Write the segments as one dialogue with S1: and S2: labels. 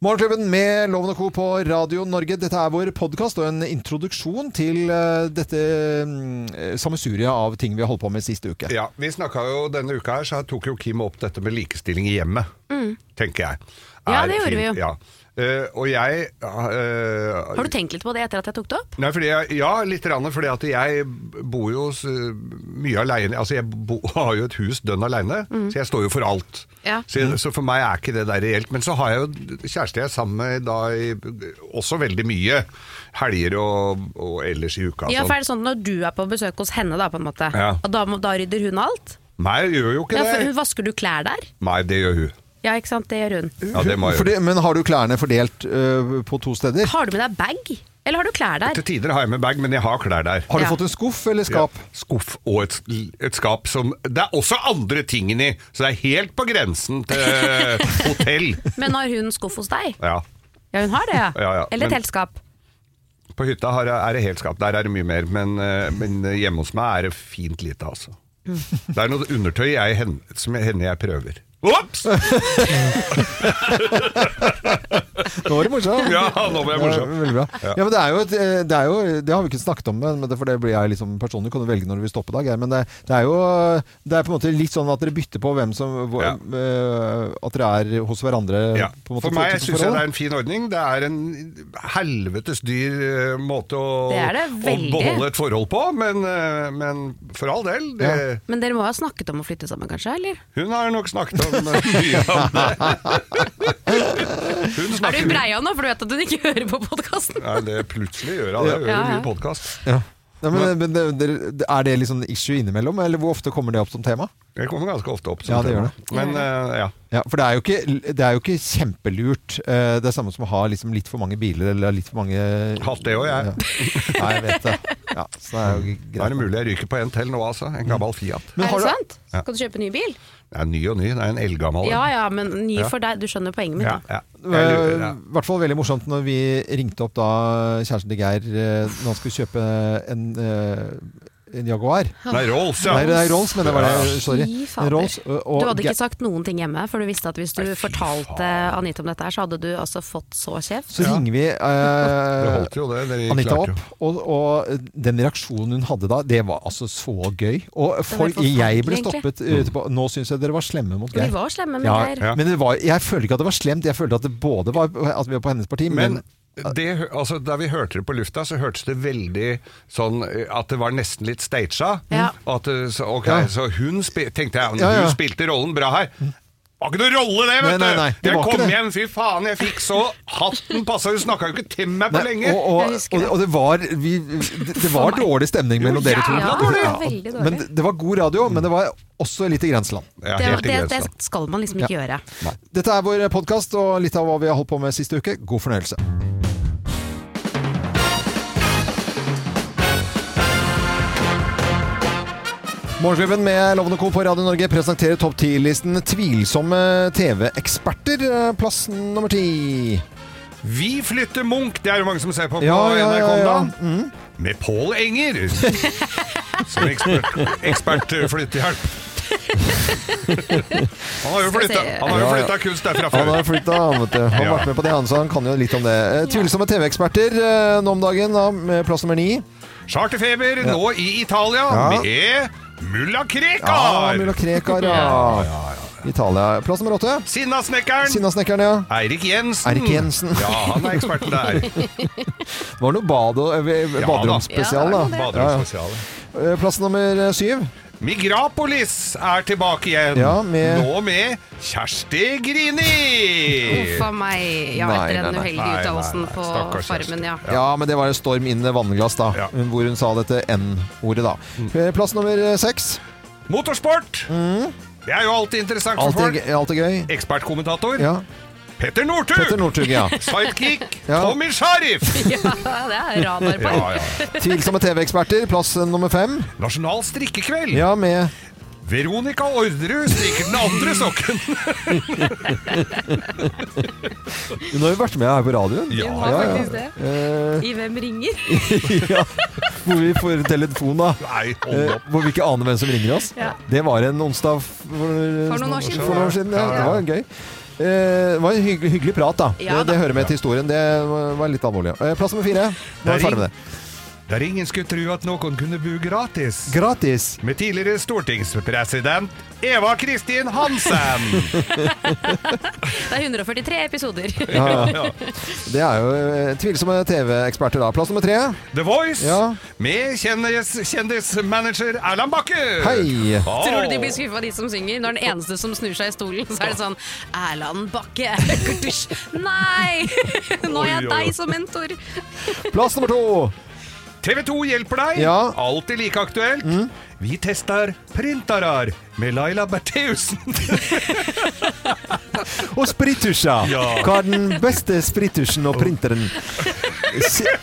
S1: Morgenklubben med Loven og Co. på Radio Norge. Dette er vår podkast og en introduksjon til eh, dette mm, sammensuriet av ting vi har holdt på med sist uke.
S2: Ja, vi snakka jo denne uka her, så tok jo Kim opp dette med likestilling i hjemmet, tenker jeg.
S3: Mm. Ja,
S2: Er
S3: det gjorde
S2: fint,
S3: vi jo.
S2: Ja. Eh, og jeg eh,
S3: Har du tenkt litt på det etter at jeg tok det opp?
S2: Nei, fordi jeg, ja, litt rann, fordi at jeg bor jo s- mye aleine. Altså, jeg bo, har jo et hus dønn aleine, så jeg står jo for alt.
S3: Mm. Ja.
S2: Så, så for meg er ikke det der reelt. Men så har jeg jo kjæreste jeg er sammen med da i, også veldig mye. Helger og, og ellers i uka. og
S3: Ja,
S2: sånn.
S3: for er det sånn at Når du er på besøk hos henne, da, på en måte,
S2: Ja.
S3: og da, må- da rydder hun alt?
S2: Meg gjør jo ikke
S3: Ja, for
S2: det.
S3: hun Vasker du klær der?
S2: Nei, det gjør hun.
S3: Ja, ikke sant, det gjør hun.
S2: Ja, det må jeg gjøre.
S1: Fordi, men har du klærne fordelt eh, på to steder?
S3: Har du med deg bag, eller har du klær der?
S2: Til tider har jeg med bag, men jeg har klær der.
S1: Har du
S3: Ja.
S1: fått en skuff eller skap?
S2: Ja, skuff og et, et skap som Det er også andre ting inni, så det er helt på grensen til eh, hotell.
S3: Men har hun skuff hos deg?
S2: Ja.
S3: Ja, hun har det, ja.
S2: Ja, ja,
S3: Eller et
S2: men-
S3: helt skap.
S2: På hytta har, jeg- er det helt skap. Der er det mye mer. Men, eh, men hjemme hos meg er det fint lite, altså. Det er noe undertøy jeg, hen- som jeg- henne jeg prøver. Ops!
S1: Nå var det morsomt.
S2: Ja, nå ble jeg morsom.
S1: Ja, veldig bra. Ja. men det, er jo et, eh, det er jo Det har vi ikke snakket om, men det, for det blir jeg liksom personlig. Kan du velge når du vil stoppe, Dag? Men det, det er jo Det er på en måte litt sånn at dere bytter på hvem som hvor,
S2: Ja.
S1: eh, At dere er hos hverandre.
S2: Ja.
S1: på en måte,
S2: For meg
S1: forhold.
S2: syns jeg det er en fin ordning. Det er en helvetes dyr eh, måte å,
S3: Det er det
S2: å
S3: veldig.
S2: beholde et forhold på, men, eh, men for all del. Det,
S3: Men dere må ha snakket om å flytte sammen, kanskje? eller?
S2: Hun har nok snakket om eh, mye om det. Hun
S3: Er
S2: snakker
S3: du breia nå, for du vet at hun ikke hører på podkasten?
S2: Nei, det plutselig gjør hun det. Hun
S3: Ja,
S2: Hører
S3: ja.
S2: mye podkast.
S1: Nei, men, men det, det, er det liksom issue innimellom, eller hvor ofte kommer det opp som tema?
S2: Det kommer ganske ofte opp. som
S1: Ja, det gjør
S2: tema.
S1: det.
S2: Men eh, ja.
S1: Ja, For det er jo ikke, det er jo ikke kjempelurt. Eh, Det er samme som å ha liksom litt for mange biler eller litt for mange
S2: Hatt det også, jeg.
S1: Ja. Nei, jeg vet det. Ja, så det er jo
S2: Da er det
S1: greit.
S2: mulig jeg ryker på en til nå, altså. En gammel Fiat.
S1: Men
S3: Er
S1: har
S3: det
S1: du-
S3: sant? Skal du kjøpe ny bil?
S2: Det er ny og ny. Det er en eldgammel.
S3: Ja ja, men ny
S2: Ja.
S3: for deg. Du skjønner poenget mitt.
S2: ja,
S3: da.
S2: ja. Jeg lurer,
S1: Eh, I
S2: ja.
S1: hvert fall veldig morsomt når vi ringte opp da kjæresten til Geir eh, når han skulle kjøpe en, eh, en Jaguar.
S2: Nei, Rolls, ja.
S1: Nei, det er Rolls, men det var det. Sorry.
S3: Fy
S1: En
S3: fader.
S1: Rolls, og, og
S3: Du hadde
S1: Geir-
S3: ikke sagt noen ting hjemme, for du visste at hvis du
S2: Nei, fy
S3: fortalte
S2: faen.
S3: Anita om dette her, så hadde du altså fått så kjeft.
S1: Så ringer vi
S2: Det
S1: eh,
S2: holdt jo, det. Dere
S1: Anita
S2: klarte jo.
S1: opp, og, og den reaksjonen hun hadde da, det var altså så gøy. Og folk,
S3: forferdelig,
S1: jeg ble
S3: egentlig.
S1: stoppet eh, etterpå. Nå syns jeg dere var slemme mot
S3: Vi
S1: Geir.
S3: var slemme med
S1: Ja,
S3: Geir.
S2: Mm. Ja.
S1: men det var, jeg føler ikke at det var slemt, jeg følte at det både var at vi var på hennes parti, men, eh,
S2: Men det, hø- altså, da vi hørte det på lufta, så hørtes det veldig sånn eh, at det var nesten litt staged.
S3: Ja.
S2: At, eh, så, ok,
S1: Ja.
S2: så hun spi tenkte jeg, hun
S1: Ja, ja.
S2: spilte rollen bra her. Var ikke noe rolle, det!
S1: Nei,
S2: vet
S1: nei, nei,
S2: du!
S1: det
S2: Jeg
S1: var ikke
S2: kom
S1: det.
S2: hjem, fy faen, jeg fikk så hatten passa! Hun snakka jo ikke til meg på
S1: Nei,
S2: lenge!
S1: Og, og,
S3: Jeg husker
S1: og,
S3: det.
S1: og det var, vi, det, det var dårlig stemning mellom dere to.
S2: jævla
S3: dårlig. Ja, veldig dårlig.
S1: Men det- det var god radio, men det var også litt i grenseland.
S3: Det,
S2: Ja, helt altså. i
S3: det, det
S2: grensen.
S3: skal man liksom ikke gjøre.
S1: Dette er vår podkast og litt av hva vi har holdt på med siste uke. God fornøyelse. Morgenklubben med Lovende Co. på Radio Norge presenterer topp 10-listen tvilsomme TV-eksperter. eh, Plass nummer ti.
S2: Vi flytter Munch! Det er jo mange som ser på
S1: Ja,
S2: på
S1: ja, ja, Mm.
S2: NRK om
S1: ja.
S2: dagen. Med Pål Enger! Som ekspert, ekspert eh, flyttehjelp. Han har jo
S3: Skal vi se.
S2: flytta, han har jo
S1: Ja, ja.
S2: flytta kunst derfra
S1: Han
S2: før.
S1: har flytta, han vet du. Han har
S2: Ja.
S1: vært med på det, han, så han kan jo litt om det. Eh, Tvilsomme TV-eksperter eh, nå om dagen, da, med plass nummer ni.
S2: Charterfeber nå i Italia
S1: Ja.
S2: med E. Mulla
S1: Ja,
S2: Krekar!
S1: Mulla Ah, Krekar, ja. Italia. Plass nummer åtte.
S2: Sinnasnekkeren!
S1: Sinnasnekkeren, ja.
S2: Eirik Jensen.
S1: Eirik Jensen.
S2: Ja, han er eksperten der.
S1: Det var noe bad og, eh,
S2: Ja,
S1: baderomsspesial,
S2: da.
S1: da.
S2: Baderomsspesial.
S1: Eh, Plass nummer eh, syv.
S2: Migrapolis er tilbake igjen.
S1: Ja, med-
S2: Nå med Kjersti Grini!
S3: Uff a meg. Ja,
S1: Nei,
S3: etter
S1: nei,
S3: den
S1: nei.
S3: uheldige
S2: Nei, nei,
S3: uttalelsen
S2: nei.
S3: på
S2: Stakkars
S3: Farmen, ja.
S1: Ja, men det var en storm inn i vannglass, da.
S2: Ja.
S1: Hun- Hvor hun sa dette N-ordet, da. Eh, Plass nummer eh, seks.
S2: Motorsport! Det er jo alltid interessant for
S1: Alltid
S2: folk.
S1: gøy- alltid gøy.
S2: Ekspertkommentator
S1: Ja.
S2: Petter Northug!
S1: Petter Northug, ja.
S2: Sidekick
S1: Ja.
S2: Tommy Sharif!
S3: Ja, det er radar på.
S2: Ja, ja.
S1: Tvilsomme TV-eksperter. Plass eh, nummer fem.
S2: Nasjonal strikkekveld
S1: Ja, med
S2: Veronica Orderud strikker den andre sokken!
S1: Hun har jo vært med her på radioen.
S2: Ja,
S4: Hun har
S1: ja, ja.
S4: faktisk det.
S1: Eh,
S4: I Hvem ringer?
S1: ja. Hvor vi får telefon, da.
S2: Nei, hold
S1: Eh,
S2: opp.
S1: hvor vi ikke aner hvem som ringer oss.
S4: Ja.
S1: Det var en onsdag f- for,
S4: noen år siden.
S1: For noen år siden ja.
S2: Ja,
S1: Det
S2: ja.
S1: var gøy. Eh, det var en hyggelig, hyggelig prat, da.
S4: Ja,
S1: det, det
S4: da.
S1: hører med til historien. Det var litt alvorlig. ja. Eh, plass nummer fire. Nå er vi
S2: Der
S1: ferdig med det.
S2: Der ingen skulle tro at noen kunne bo gratis.
S1: Gratis.
S2: Med tidligere stortingspresident Eva Kristin Hansen!
S4: Det er 143 episoder.
S1: Ja, ja.
S2: Ja.
S1: Det er jo eh, tvilsomme TV-eksperter, da. Plass nummer tre.
S2: The Voice
S1: Ja.
S2: med kjendis, kjendismanager Erland Bakke!
S1: Hei.
S2: Åh.
S4: Tror du de blir skuffa, de som synger? Når den eneste som snur seg i stolen, så er det sånn Erland Bakke! Kurtusj. Nei!
S2: Oi, oi,
S4: Nå har jeg
S2: oi.
S4: deg som mentor!
S1: Plass nummer to.
S2: TV 2 hjelper deg,
S1: Ja. Mm.
S2: alltid like aktuelt. Vi tester printarar med Laila Bertheussen.
S1: Og sprittusjer.
S2: Ja.
S1: Hva er den beste sprittusjen og printeren? Se-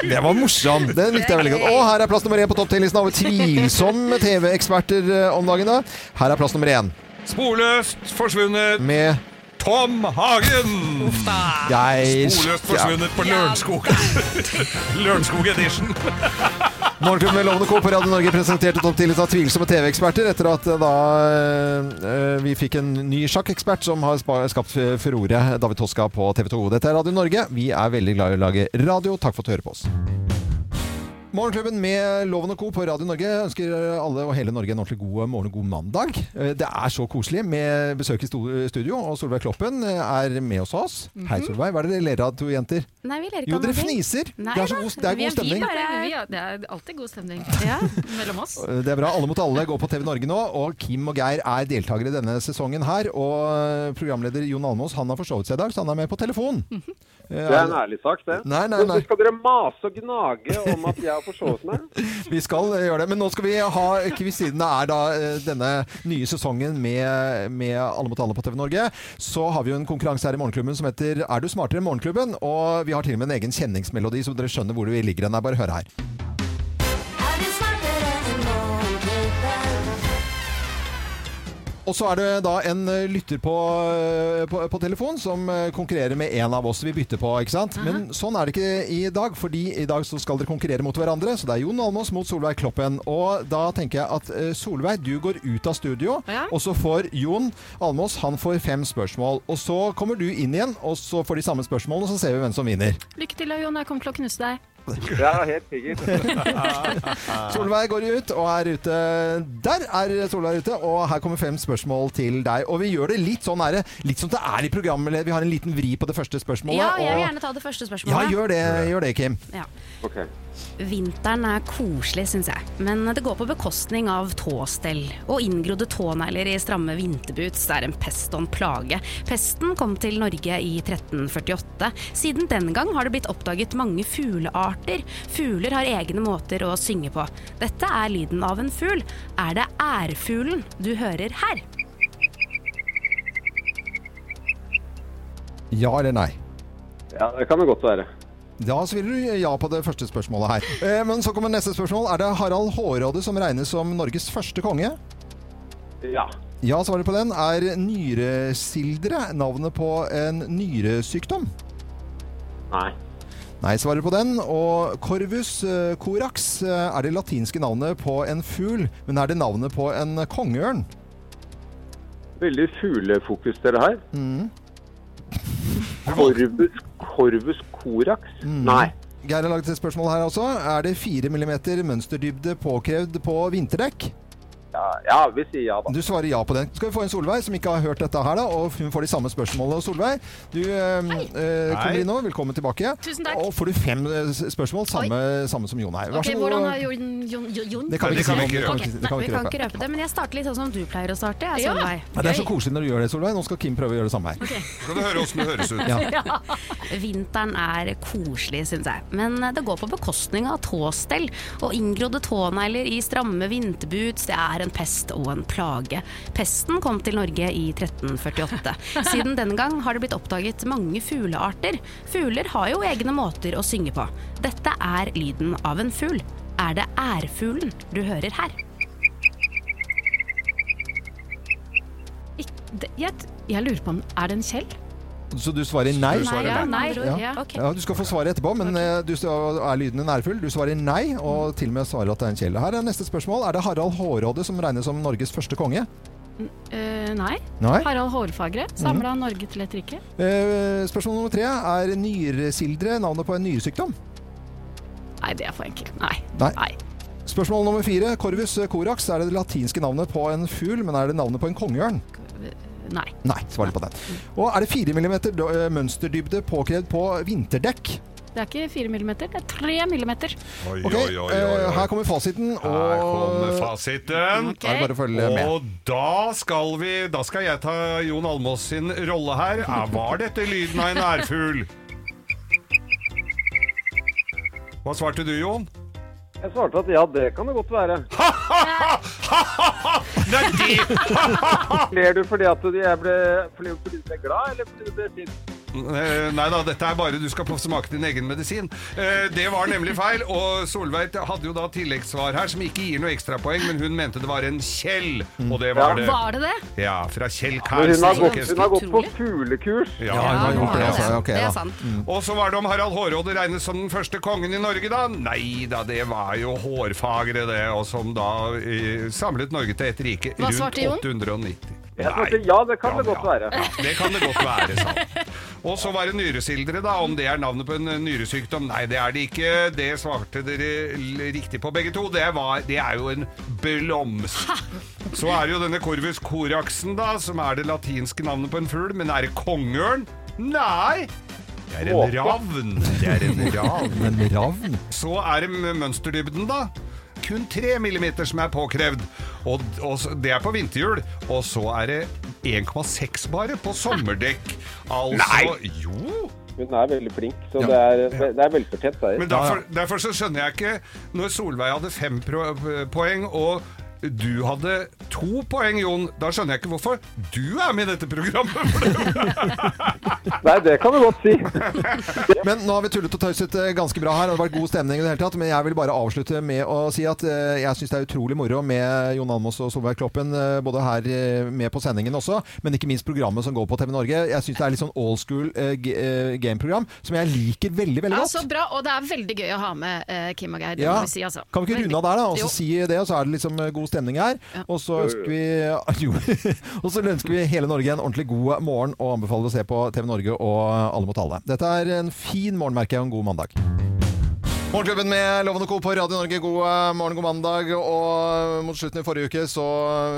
S1: Det var morsomt. Den likte jeg veldig godt. Og her er plass nummer én på topp 10-listen over tvilsomme TV-eksperter eh, om dagen. da. Her er plass nummer én
S2: Sporløst forsvunnet
S1: med
S2: Tom Hagen!
S1: Geir
S2: Sporløst forsvunnet på Lørenskog. Lørenskog edition.
S1: Morgenklubben med Lovende Co. på Radio Norge presenterte topp 10-listen av tvilsomme TV-eksperter etter at eh, da eh, vi fikk en ny sjakkekspert som har spa- skapt eh, furore, David Toska på TV 2. Dette er Radio Norge. Vi er veldig glad i å lage radio. Takk for at du hører på oss. Morgenklubben med Loven og Co. på Radio Norge ønsker alle og hele Norge en ordentlig god morgen og god mandag. Eh, Det er så koselig med besøk i sto- studio, og Solveig Kloppen eh, er med hos oss. Hei, Solveig. Hva er det dere ler av, to jenter?
S4: Nei, vi ler ikke
S1: Jo,
S4: av
S1: dere
S4: noe.
S1: fniser.
S4: Nei
S1: det er så
S4: da,
S1: god, det er
S4: vi er
S1: god stemning.
S4: vi bare er-
S5: Ja, det er alltid god stemning
S4: Ja.
S5: mellom oss.
S1: Eh, Det er bra. Alle mot alle går på TV Norge nå, og Kim og Geir er deltakere denne sesongen her. Og eh, programleder Jon Almås han har forsovet seg i dag, så han er med på telefon.
S4: Mhm.
S1: Eh,
S6: Det er en ærlig sak, det.
S1: Nei, nei,
S6: Men
S1: nei.
S6: Skal dere mase og gnage om at jeg har forsovet meg?
S1: Vi skal eh, gjøre det. Men nå skal vi ha quiz siden det er da eh, denne nye sesongen med, med Alle mot alle på TV Norge. Så har vi jo en konkurranse her i Morgenklubben som heter Er du smartere enn Morgenklubben? Og vi har til og med en egen kjenningsmelodi, så dere skjønner hvor vi ligger hen. her. Bare hør her. Og så er det da en eh, lytter på, eh, på, på telefon som eh, konkurrerer med en av oss vi bytter på, ikke sant? Men sånn er det ikke i dag, fordi i dag så skal dere konkurrere mot hverandre. Så det er Jon Almås mot Solveig Kloppen. Og da tenker jeg at eh, Solveig, du går ut av studio,
S4: Ja.
S1: og så får Jon Almås, han får fem spørsmål. Og så kommer du inn igjen, og så får de samme spørsmålene, og så ser vi hvem som vinner.
S5: Lykke til, Jon. Jeg kommer til å knuse deg.
S6: Jeg er helt sikker.
S1: Solveig går ut og er ute. Der er Solveig ute, og her kommer fem spørsmål til deg. Og vi gjør det litt sånn her, litt som det er i programmet. eller Vi har en liten vri på det første spørsmålet.
S4: Ja, jeg vil
S1: og...
S4: gjerne ta det første
S1: ja
S4: spørsmålet.
S1: gjør det, gjør det, Kim.
S4: Ja.
S6: Ok.
S4: Vinteren er koselig, syns jeg. Men det går på bekostning av tåstell. Og inngrodde tånegler i stramme vinterboots er en pest og en plage. Pesten kom til Norge i 1348. Siden den gang har det blitt oppdaget mange fuglearter. Fugler har egne måter å synge på. Dette er lyden av en fugl. Er det ærfuglen du hører her?
S1: Ja eller nei?
S6: Ja, det kan det godt være.
S1: Da svarer du ja på det første spørsmålet her. Eh, Men så kommer neste spørsmål. Er det Harald Hårråde som regnes som Norges første konge?
S6: Ja.
S1: Ja, svaret på den er nyresildre navnet på en nyresykdom.
S6: Nei.
S1: Nei, svarer på den. Og Corvus eh, corax eh, er det latinske navnet på en fugl, men er det navnet på en kongeørn?
S6: Veldig fuglefokus dere har. Corvus, corvus corax? Nei.
S1: Geir har laget et spørsmål her også. Er det 4 mm mønsterdybde påkrevd på vinterdekk?
S6: Ja, ja, vi sier ja, da.
S1: Du svarer ja på den. Skal vi få en Solveig som ikke har hørt dette her, da, og hun får de samme spørsmålene. Solveig, du eh, eh, kommer
S2: Hei.
S1: inn nå. Velkommen tilbake.
S5: Tusen takk.
S1: Og får du fem eh, s- spørsmål, samme, samme som Jon her. Vær
S5: Ok,
S1: så god.
S5: Hvordan har Jon Jon, Jon, Jon?
S1: Det kan vi
S2: Det
S1: ikke
S2: kan
S1: si.
S2: vi ikke
S1: Det kan
S5: røpe.
S1: vi ikke- det
S4: Nei,
S1: kan vi
S4: vi
S1: ikke
S4: kan
S1: røpe.
S4: ikke røpe det, men jeg starter litt sånn som du pleier å starte. Jeg,
S5: Ja.
S4: Solveig.
S1: Ja, Det er så koselig når du gjør det, Solveig. Nå skal Kim prøve å gjøre det samme her.
S2: Skal du høre åssen det høres ut?
S4: Vinteren er koselig, syns jeg. Men det går på bekostning av tåstell. Og inngrodde tånegler i stramme vinterboots, det er en pest og en plage. Pesten kom til Norge i 1348. Siden den gang har det blitt oppdaget mange fuglearter. Fugler har jo egne måter å synge på. Dette er lyden av en fugl. Er det ærfuglen du hører her?
S7: Det, jeg, t- jeg lurer på om Er det en Kjell?
S1: Så du svarer nei?
S2: Du svarer
S7: ja, nei.
S3: nei.
S7: Ja.
S1: Ja.
S3: Ok.
S1: Ja, du skal få svaret etterpå, men eh, du sta- er lydende nærfull. Du svarer nei, og til og med svarer at det er en kjele. Her er neste spørsmål. Er det Harald Hårråde som regnes som Norges første konge?
S7: Eh, nei.
S1: Nei. Mhm.
S7: Harald Hårfagre samla Norge til et rike.
S1: Eh, spørsmål nummer tre. Er nyresildre navnet på en nyresykdom?
S7: Nei, det er for enkelt. Nei.
S1: Nei. Spørsmål nummer fire. Corvus corax er det latinske navnet på en fugl, men er det navnet på en kongeørn?
S7: Nei.
S1: Nei, svarer på den. Og er det fire millimeter do- eh, mønsterdybde påkrevd på vinterdekk?
S7: Det er ikke fire millimeter, det er tre millimeter.
S2: Oi,
S1: Ok,
S2: oi, oi, oi,
S1: eh,
S2: oi.
S1: her kommer fasiten. Og
S2: Her kommer fasiten.
S1: Da er det bare å følge med.
S2: Og da skal vi Da skal jeg ta Jon Almås sin rolle her. Er- Var dette lyden av en ærfugl? Hva svarte du, Jon?
S6: Jeg svarte at ja, det kan det godt være.
S2: Nei, det
S6: Ler du fordi at jeg ble, fordi, fordi du ble glad, eller fordi du ble sint?
S2: Eh, Nei da, dette er bare du skal få smake din egen medisin. Eh, Det var nemlig feil, og Solveig hadde jo da tilleggssvar her som ikke gir noe ekstrapoeng, men hun mente det var en Kjell, og det var det.
S3: Var det det?
S2: Ja, fra Kjell
S6: Men hun har
S2: Kærstad.
S6: gått, hun har gått på
S3: Utrolig.
S6: fuglekurs.
S2: Ja,
S1: Ja,
S2: hun har
S1: hun
S2: gjort det,
S1: har
S2: altså.
S1: altså. Ok,
S3: det
S1: da.
S3: er sant.
S2: Og så var det om Harald Hårråde regnes som den første kongen i Norge, da. Nei da, det var jo hårfagre, det, og som da eh, samlet Norge til ett rike
S3: Hva
S2: rundt
S3: svarte Jon?
S2: 890.
S6: Jeg
S2: Nei.
S6: svarte ja, det kan det
S2: Ja,
S6: godt
S2: ja.
S6: være.
S2: Ja, det kan det godt være, sa han. Og så var det nyresildre, da. Om det er navnet på en eh, nyresykdom? Nei, det er det ikke. Det svarte dere l- riktig på begge to. Det, var, det er jo en blomst. Så er det jo denne corvus coraxen, da, som er det latinske navnet på en fugl. Men er det kongeørn? Nei! Det er en
S6: Måke.
S2: ravn. Det er en ravn.
S1: En ravn?
S2: Så er det m- mønsterdybden, da. Kun 3 millimeter som er påkrevd. Og, og s- det er på vinterhjul. Og så er det 1,6 bare på sommerdekk. Altså Nei! Jo!
S6: Hun er veldig flink, så det er, det- det er velfortjent seier.
S2: Men derfor, derfor så skjønner jeg ikke Når Solveig hadde fem pro eh, poeng og du hadde to poeng, Jon. Da skjønner jeg ikke hvorfor du er med i dette programmet. For det.
S6: Nei, det kan du godt si.
S1: Men nå har vi tullet og tøyset eh, ganske bra her, og det har vært god stemning i det hele tatt. Men jeg vil bare avslutte med å si at eh, jeg syns det er utrolig moro med Jon Almaas og Solveig Kloppen, eh, både her eh, med på sendingen også, men ikke minst programmet som går på TV Norge. Jeg syns det er litt sånn old school eh, g- eh, game-program som jeg liker veldig, veldig
S7: Ja,
S4: Altså,
S1: godt.
S7: så bra, og det er veldig gøy å ha med eh, Kim og Geir. Det
S1: Ja.
S7: må vi si, altså.
S1: Kan vi ikke runde av der, da? Og
S7: Jo.
S1: så si det, og så er det liksom eh, god stemning her. Og så ønsker vi jo, Og så ønsker vi hele Norge en ordentlig god morgen, og anbefaler å se på TV Norge og Alle mot alle. Dette er en fin morgen, merker jeg, og en god mandag. Morgenklubben med Lovende Co. på Radio Norge, god eh, morgen, god mandag. Og mot slutten i forrige uke så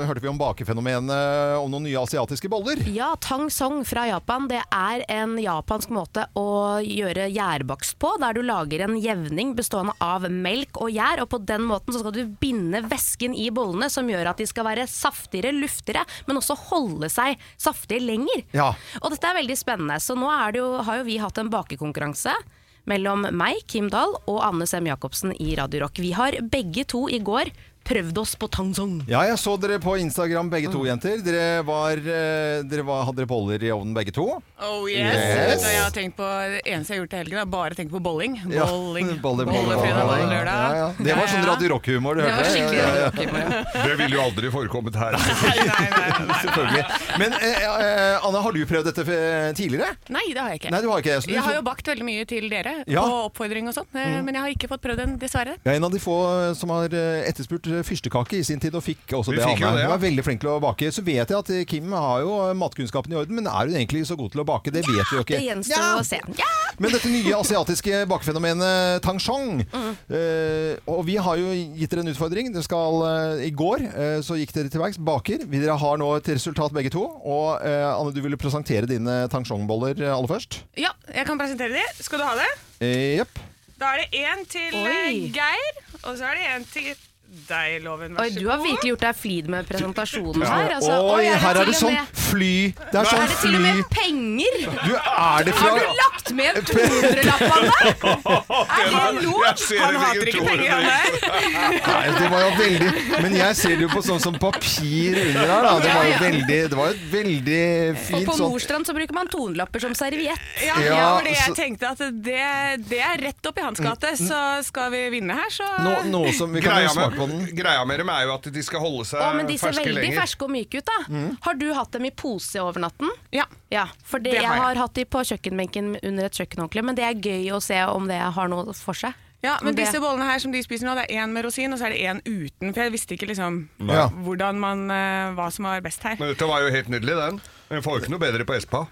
S1: hørte vi om bakefenomenet om noen nye asiatiske boller.
S3: Ja, tang song fra Japan det er en japansk måte å gjøre gjærbakst på, der du lager en jevning bestående av melk og gjær, og på den måten så skal du binde væsken i bollene, som gjør at de skal være saftigere, luftigere, men også holde seg saftige lenger.
S1: Ja.
S3: Og dette er veldig spennende, så nå er det jo, har jo vi hatt en bakekonkurranse. Mellom meg, Kim Dahl, og Anne Sem Jacobsen i Radio Rock. Vi har begge to i går prøvd oss på tang song.
S1: Ja, jeg så dere på Instagram begge to, jenter. Dere, var, eh, dere var, hadde dere boller i ovnen begge to.
S5: Oh yes. Så jeg har tenkt på, det eneste jeg har gjort i helgen, er bare tenkt på bowling.
S1: Ja,
S5: Bowling.
S1: boller, boller,
S5: fredag,
S1: boller.
S5: boller lørdag.
S1: Ja, ja. Det var sånn Radio Rock-humor, du
S5: Det var
S1: hørte?
S5: skikkelig
S1: Ja, ja, ja.
S5: rockehumor.
S2: Det ville jo aldri forekommet her.
S5: Nei, nei, nei, nei.
S1: Selvfølgelig. Men eh, eh, Anne, har du prøvd dette f- tidligere?
S5: nei, det har jeg ikke.
S1: Nei, du har ikke. Så du,
S5: Jeg har jo bakt veldig mye til dere
S1: Ja. Mm.
S5: på oppfordring og sånn, eh, men jeg har ikke fått prøvd den, dessverre.
S1: jeg er en av de få som har eh, etterspurt eh, fyrstekake i sin tid, og fikk også
S2: Vi
S1: det.
S2: fikk jo
S1: Anne.
S2: det, ja.
S1: Hun er veldig flink til å bake. Så vet jeg at eh, Kim har jo eh, matkunnskapen i orden, men er hun egentlig så god til å bake? Det vet vi jo ikke.
S3: Det gjenstår
S1: Ja.
S3: å se. Ja!
S1: Men dette nye asiatiske bakefenomenet tang shong eh, Og vi har jo gitt dere en utfordring. Dere skal, eh, I går eh, så gikk dere til verks baker. Vi dere har nå et resultat begge to. Og eh, Anne, du ville presentere dine tang shong-boller eh, aller først.
S5: Ja, jeg kan presentere de. Skal du ha det?
S1: Eh, Jepp.
S5: Da er det én til eh,
S3: Oi.
S5: Geir, og så er det én til deg, Loven.
S3: Oi, du har virkelig gjort deg flid med presentasjonen her. Altså.
S1: Oi, her er det
S3: til og
S1: sånn
S3: med-
S1: fly. Det er
S3: Er
S1: sånn
S3: det til og
S1: fly.
S3: med penger?
S1: Du, er det
S3: Har
S1: fra
S3: du lagt med
S1: sånn.
S3: en 200-lapp av deg? Er det lov?
S2: Jeg ser det
S5: Han
S2: ligger
S5: hater ikke
S2: 200
S5: penger, han der.
S1: Nei, det var jo veldig Men jeg ser det jo på sånn som papir under her, da. Det var
S3: Ja,
S1: jo
S3: ja.
S1: veldig, det var jo et veldig
S3: Og
S1: fint
S3: på
S1: sånn
S3: Nordstrand så bruker man tonelapper som serviett.
S5: Ja,
S1: Ja,
S5: det var det
S1: så- Mm.
S5: jeg tenkte. At det, det er rett opp i hans gate. Så skal vi vinne her, så
S1: Nå- Noe som vi kan jo
S2: Greia
S1: smake på den.
S2: med, greia med dem er jo at de skal holde seg
S3: Å, men de ser
S2: ferske
S3: veldig
S2: lenger.
S1: Mm.
S3: ferske og myke ut, da. Har du hatt dem i
S4: pose over natten?
S5: Ja.
S4: Ja, for det,
S5: Det har
S4: jeg
S5: jeg.
S4: har hatt de på kjøkkenbenken under et kjøkkenhåndkle, men det er gøy å se om det har noe for seg.
S5: Ja, men
S4: Det-
S5: disse bollene her som de spiser nå, det er én med rosin, og så er det én uten. For jeg visste ikke liksom
S1: Ja.
S5: hvordan man, eh, hva som var best her.
S2: Men dette var jo helt nydelig, den. Men får jo ikke noe bedre på Espa.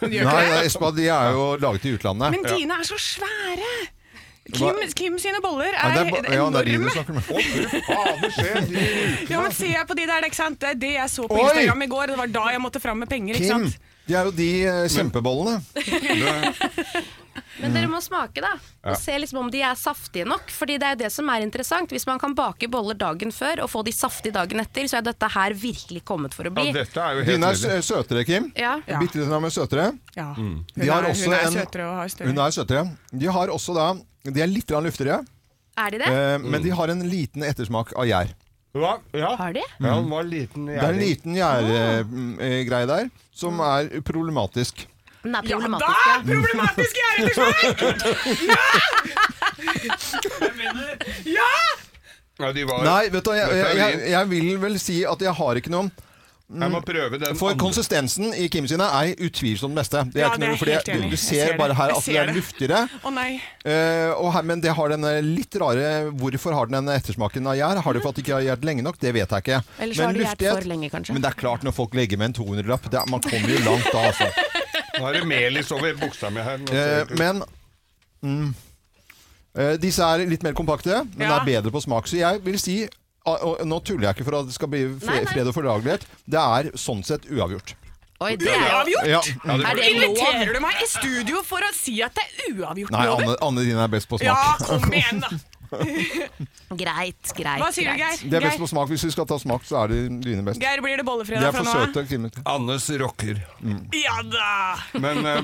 S5: Gjør ikke
S1: Nei,
S5: det?
S1: Espa, de er jo laget i utlandet.
S5: Men dine er så svære! Kim, Kim sine boller
S1: Ja,
S5: er,
S1: det er, ba- ja, det er de du
S5: enorme.
S1: snakker med.
S2: Å, fy fader, se! de-
S5: Ja, men ser jeg på de der, ikke sant? Det er det jeg så på
S1: Oi!
S5: Instagram i går, og det var da jeg måtte fram med penger, ikke
S1: Kim,
S5: sant?
S1: de er jo de eh, kjempebollene.
S4: Men
S1: Mm.
S4: dere må smake, da. Og se liksom om de er saftige nok. Fordi det er jo det som er interessant. Hvis man kan bake boller dagen før og få de saftige dagen etter, så er dette her virkelig kommet for å
S2: Ja,
S4: bli.
S2: dette er jo helt
S1: Dine er
S2: nydelig.
S1: sø- søtere, Kim.
S4: Ja.
S5: Ja.
S1: Bitte liten av dem er søtere.
S5: Ja. Hun,
S1: De Mm. har
S5: er,
S1: også
S5: hun er
S1: en-
S5: søtere og har
S1: Hun
S5: større.
S1: er søtere. De har også da De er litt grann luftigere,
S4: Er de det?
S1: eh,
S5: Mm.
S1: men de har en liten ettersmak av gjær.
S2: Ja, ja.
S4: Har de?
S2: ja, han var liten.
S1: Det er en liten eh, gjærgreie der som er
S5: Mm.
S1: problematisk.
S4: Den er
S5: Ja, da
S4: problematisk. Ja,
S5: er problematisk jeg er etter svar! Ja!
S2: Ja, de var,
S1: Nei, vet du, jeg,
S2: Dette er
S1: jeg, jeg,
S2: min.
S1: jeg vil vel si at jeg har ikke noe
S2: Jeg
S1: mm.
S2: må prøve den.
S1: For
S2: andre.
S1: konsistensen i Kim sine er utvilsomt den beste. Det er
S5: Ja,
S1: ikke
S5: det er
S1: noe, for det,
S5: helt enig.
S1: du, du
S5: Jeg
S1: ser,
S5: ser det.
S1: bare her
S5: Jeg
S1: at det
S5: ser
S1: er
S5: det.
S1: luftigere.
S5: Å nei.
S1: eh, og her, men det har den eh, litt rare Hvorfor har den den ettersmaken av gjær? Har det for at det ikke har gjært lenge nok? Det vet jeg ikke.
S4: Eller så
S1: Men
S4: har de gjært
S1: luftighet-
S4: for lenge, kanskje.
S1: Men det er klart, når folk legger med en 200-lapp det er- Man kommer jo langt da, altså.
S2: Nå er det melis over buksa mi her. Nå ser
S1: Eh,
S2: det ut.
S1: men mm, eh, Disse er litt mer kompakte, men
S5: Ja.
S1: er bedre på smak. Så jeg vil si ah, og Nå tuller jeg ikke for at det skal bli fre-
S4: Nei, nei.
S1: fred og fordragelighet. Det er sånn sett uavgjort.
S4: Oi, det er jo
S5: Uavgjort!
S1: Ja.
S4: Er det lov?
S5: Inviterer du meg i studio for å si at det er uavgjort?
S1: Nei,
S5: Loven?
S1: Anne, Anne din er best på
S5: Ja,
S1: smak.
S5: kom igjen, da.
S4: Greit, greit.
S5: Hva sier du,
S4: greit.
S5: Geir?
S1: De er best på smak. Hvis vi skal ta smak, så er det dine best.
S5: Geir, blir det
S1: De
S5: bollefredag
S1: er
S5: fra
S1: for
S5: nå av?
S1: søte. kvinner.
S2: Annes rocker.
S5: Ja da!
S2: Men eh,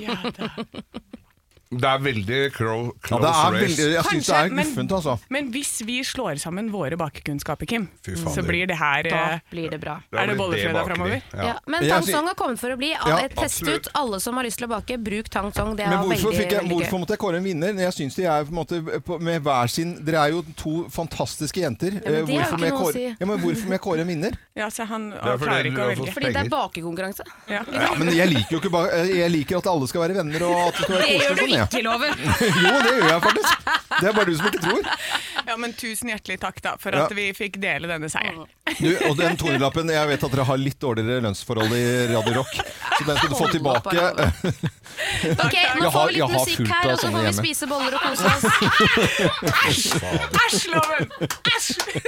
S2: det er veldig cro-
S1: Ja,
S2: close
S1: det er
S2: race.
S1: veldig, jeg syns det
S5: Kanskje,
S1: er
S5: men-
S1: guffent, altså.
S5: Men hvis vi slår sammen våre bakekunnskaper, Kim,
S2: Fy
S5: så
S2: fader.
S5: blir det her
S4: Da
S5: eh,
S4: blir det bra.
S5: Er det
S2: vel
S5: bollefredag
S2: bakeri.
S5: fremover?
S2: Ja.
S4: Ja, men
S1: Jeg
S4: tangsong
S1: sier-
S4: har kommet for å bli. Ah, eh,
S1: Ja,
S4: Test
S2: absolutt.
S4: ut alle som har lyst til å bake. Bruk tangsong. Det er
S1: Men hvorfor,
S4: veldig,
S1: fikk jeg,
S4: veldig gøy.
S1: hvorfor måtte jeg kåre en vinner? Jeg syns de er på en måte på- med hver sin Dere er jo to fantastiske jenter.
S4: men
S1: Eh,
S4: de har jo
S1: hvorfor må
S4: ikke
S1: jeg
S4: noe å
S1: kåre-
S4: si.
S1: Ja, men hvorfor må jeg kåre en vinner?
S5: Ja, så han
S2: er
S5: han
S2: fordi
S5: klarer ikke å
S2: du har
S5: velge.
S2: fått-
S4: Fordi det er bakekonkurranse.
S5: Ja.
S1: Ja, men jeg liker jo ikke ba Jeg liker at alle skal være venner og at det skal være
S4: Det gjør
S1: koselig. og
S4: du
S1: Sånn, ja.
S4: ikke, Loven.
S1: Jo, det gjør jeg faktisk. Det er bare du som ikke tror.
S5: ja, men tusen hjertelig takk, da, for
S1: Ja.
S5: at vi fikk dele denne seieren.
S1: Du, og den 200-lappen Jeg vet at dere har litt dårligere lønnsforhold i Radio Rock, så den skal du få tilbake.
S4: Ok, Nå
S1: Jeg
S4: får
S1: har-
S4: vi
S1: jeg
S4: litt
S1: har
S4: musikk
S1: fullt av
S4: her, og så
S1: sånne
S4: får vi
S1: hjemme.
S4: spise boller og kose oss.
S5: Æsj, Loven! Æsj!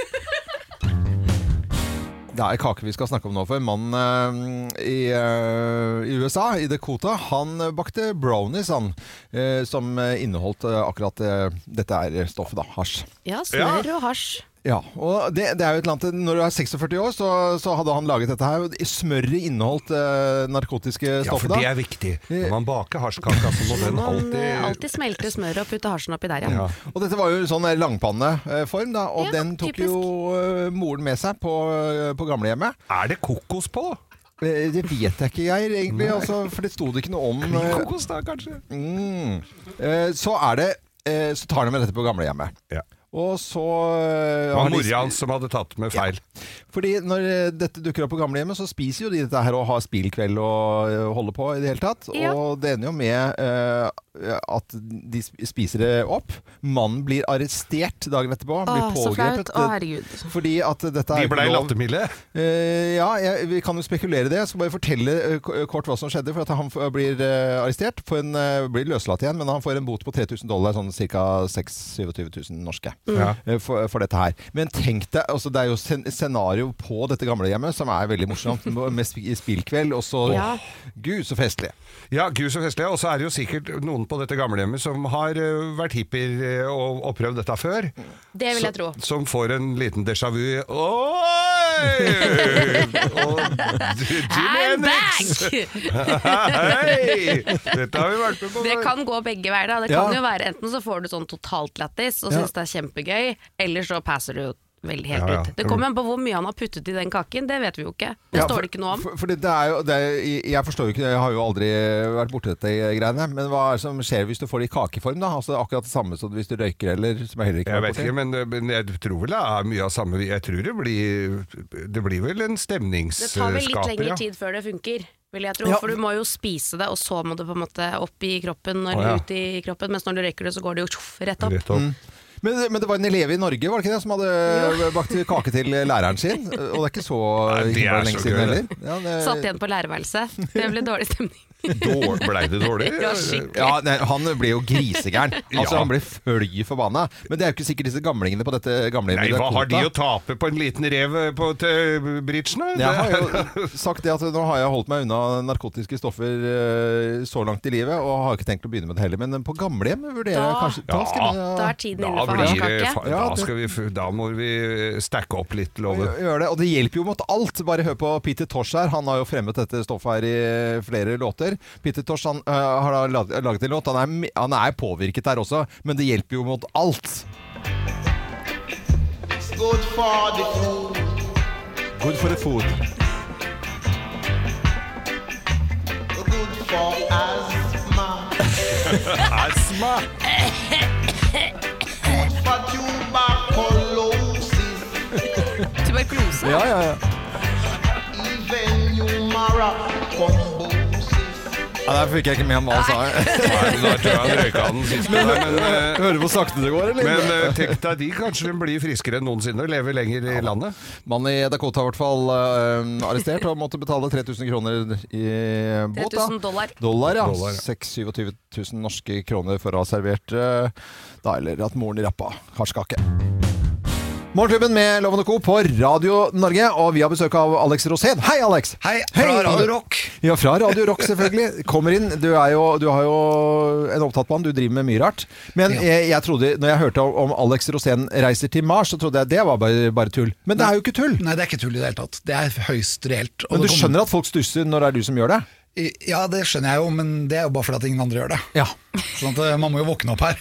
S1: Det er en kake vi skal snakke om nå, for en mann eh, i, eh, i USA, i Dakota, han eh, bakte brownies, han, eh, som eh, inneholdt eh, akkurat eh, dette er stoffet, da, hasj.
S4: Ja, smør og hasj.
S1: Ja, og det, det er jo et eller annet Når du er 46 år, så, så hadde han laget dette her. og Smøret inneholdt eh, narkotiske
S2: Ja, for
S1: stoffer.
S2: det
S1: da.
S2: er viktig. Når man baker hasjkaka, så må den
S4: Man
S2: alltid
S4: eh, alltid smelter smøret og putter hasjen oppi der, ja.
S1: Og dette var jo sånn langpanneform, da, og
S4: Ja,
S1: den tok
S4: typisk.
S1: jo eh, moren med seg på, eh, på gamlehjemmet.
S2: Er det kokos på?
S1: Eh, Det vet jeg ikke, Geir, egentlig, altså, for det sto det ikke noe om. eh,
S2: Kokos da, kanskje?
S1: Mm. Eh, Så er det eh, Så tar de med dette på gamlehjemmet.
S2: Ja.
S1: Og så eh,
S2: Det var
S1: har de-
S2: mora hans som hadde tatt med feil.
S1: Fordi når eh, dette dukker opp på gamlehjemmet, så spiser jo de dette her og har spillkveld og eh, holder på i det hele tatt.
S4: Ja.
S1: Og det ender jo med eh, at de sp- spiser det opp. Mannen blir arrestert dagen etterpå. Han
S4: Åh,
S1: blir eh,
S4: så flaut.
S1: pågrepet.
S4: Å, herregud.
S1: fordi at dette
S2: De
S1: er
S2: blei
S1: ikke lov.
S2: lattermilde.
S1: Eh, ja, jeg, vi kan jo spekulere i det. Jeg skal bare fortelle eh, k- kort hva som skjedde. For at Han f- blir eh, arrestert, får en, eh, blir løslatt igjen, men han får en bot på 3000 dollar, sånn ca. 26 000-27 000 norske,
S2: Mm. Ja.
S1: eh, for, for dette her. Men tenk deg, altså, det er jo sen scenario på dette gamlehjemmet som er veldig morsomt, med sp spillkveld, og så
S4: Ja.
S1: Gud, så festlig.
S2: Ja, gud så festlig. Og så er det jo sikkert noen på dette gamlehjemmet som har eh, vært hippier eh, og, og prøvd dette før.
S4: Det vil jeg tro.
S2: Som får en liten déjà vu. Oi! Og Jimi
S4: I'm
S2: Hendrix.
S4: back!
S2: Hei! Dette har vi vært med på
S4: Det
S2: før.
S4: kan gå begge veier. Da. Det
S1: Ja.
S4: kan jo være Enten så får du sånn totalt lættis og
S1: Ja.
S4: syns det er kjempegøy, eller så passer du jo veldig helt
S2: Ja, ja.
S4: ut. Det kommer an på hvor mye han har puttet i den kaken, det vet vi jo ikke. Det
S1: Ja,
S4: står det ikke noe om.
S1: For, fordi det er jo, det er, jeg forstår jo ikke, jeg har jo aldri vært borti dette eh, greiene, men hva er det som skjer hvis du får det i kakeform? da? Altså Akkurat det samme som hvis du røyker eller som jeg heller ikke har
S2: Jeg vet
S1: borti.
S2: ikke, men, men jeg tror vel det er mye av samme Jeg tror det blir, det blir vel en
S4: Det tar
S2: stemningsskaper.
S4: vel litt lengre tid før det funker. vil jeg tro.
S1: Ja.
S4: For du må jo spise det, og så må det på en måte opp i kroppen,
S2: Å,
S4: eller
S2: ja.
S4: ut i kroppen. Mens når du røyker det, så går det jo tjoff, rett opp.
S2: Rett opp.
S1: Mm. Men, men det var en elev i Norge var det ikke det, som hadde bakt kake til eh, læreren sin. Og det er ikke så
S2: Nei, det
S1: himla
S2: er så
S1: lenge
S2: gøy,
S1: siden heller.
S2: det.
S1: Ja, det-
S4: Satt igjen på lærerværelset. Det ble dårlig stemning.
S2: Dår, ble det dårlig?
S4: Ja, skikkelig.
S1: Ja, nei, han ble jo grisegæren. Altså,
S2: Ja.
S1: Han ble fløy forbanna. Men det er jo ikke sikkert disse gamlingene på dette gamle
S2: Nei, hva har de
S1: Dakota-
S2: å tape på en liten rev eh, på t- bridgen? da?
S1: Jeg har jo sagt det at nå har jeg holdt meg unna narkotiske stoffer eh, så langt i livet, og har ikke tenkt å begynne med det heller. Men på gamlehjem vurderer jeg
S4: Da-
S1: kanskje da skal jeg begynne å-
S4: Da er tiden inne
S2: Da,
S4: for
S2: blir det,
S4: hardkake.
S2: fa-
S1: Ja,
S2: da,
S1: det-
S2: skal vi, f- da må vi stacke opp litt, Love.
S1: Gjø- Gjør det, og det hjelper jo mot alt. Bare hør på Peter Tosh her. Han har jo fremmet dette stoffet her i flere låter. Peter Tosh han, øh, har da lag- laget en låt. Han er, me- han er påvirket her også, men det hjelper jo mot alt. Good for the food.
S2: Asma!
S5: Tuberkulose?
S1: Ja, ja, ja. ja der fikk jeg ikke med meg hva han sa.
S2: Nei, da tror jeg han røyka den siste der, men eh,
S1: Hører du hvor sakte det går, eller?
S2: men eh, tenk deg de, kanskje de blir friskere enn noensinne og lever lenger i landet.
S1: Mannen i Dakota i hvert fall øh, arrestert og måtte betale 3000 kroner i eh, båt. da.
S4: 3000 dollar.
S1: Dollar, ja.
S2: Dollar, ja.
S1: 26 000 norske kroner for å ha servert eh, da, eller at moren rappa hasjkake. Morgenklubben med Loven og Co. på Radio Norge, og vi har besøk av Alex Rosén. Hei, Alex!
S8: Hei, fra Radio Rock.
S1: Ja, fra Radio Rock, selvfølgelig. Kommer inn. Du, er jo, du har jo en opptatt mann, du driver med mye rart. Men jeg, jeg trodde, når jeg hørte om Alex Rosén reiser til Mars, så trodde jeg det var bare, bare tull. Men det er jo ikke tull!
S8: Nei, det er ikke tull i det hele tatt. Det er høyst reelt.
S1: Men du skjønner at folk stusser når det er du som gjør det?
S8: Ja, det skjønner jeg jo, men det er jo bare fordi at ingen andre gjør det.
S1: Ja. Mm.
S8: Sånn at eh, man må jo våkne opp her.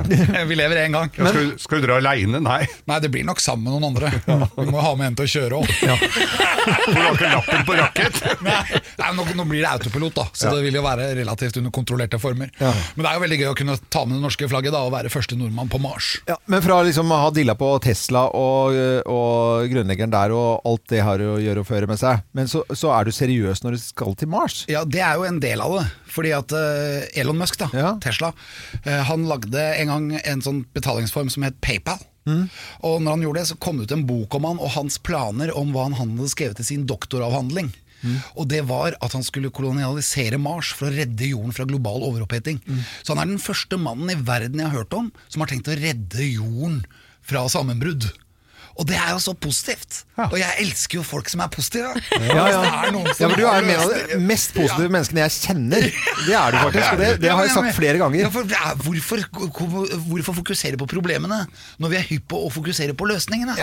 S8: Vi lever én gang.
S2: Ja, skal, skal du dra aleine? Nei.
S8: Nei, det blir nok sammen med noen andre. Vi må ha med en til å kjøre òg.
S2: Du har ikke lappen på rakett!
S8: Nei, nei, nå, nå blir det autopilot, da, så det vil jo være relativt under kontrollerte former.
S1: Ja.
S8: Men det er jo veldig gøy å kunne ta med det norske flagget da, og være første nordmann på Mars.
S1: Ja, men fra liksom å ha dilla på Tesla og, og grunnleggeren der og alt det har å gjøre og føre med seg, men så, så er du seriøs når du skal til Mars?
S8: Ja, det er jo en del av det. Fordi at eh, Elon Musk, da,
S1: Ja.
S8: Tesla, eh, han lagde en gang en sånn betalingsform som het PayPal.
S1: Mm.
S8: Og når han gjorde det, så kom det ut en bok om han og hans planer om hva han hadde skrevet i sin doktoravhandling.
S1: Mm.
S8: Og det var at han skulle kolonialisere Mars for å redde jorden fra global overoppheting.
S1: Mm.
S8: Så han er den første mannen i verden jeg har hørt om som har tenkt å redde jorden fra sammenbrudd. Og det er jo så positivt! Og jeg elsker jo folk som er positive.
S1: Ja, ja.
S8: Hvis det er noen
S1: ja,
S8: som
S1: for du
S8: har
S1: er en av
S8: løsninger.
S1: de mest positive menneskene jeg kjenner. Det er du faktisk, og det, det har jeg sagt flere
S8: Ja,
S1: ganger.
S8: for det er- hvorfor, hvorfor fokusere på problemene når vi er hypp på å fokusere på løsningene?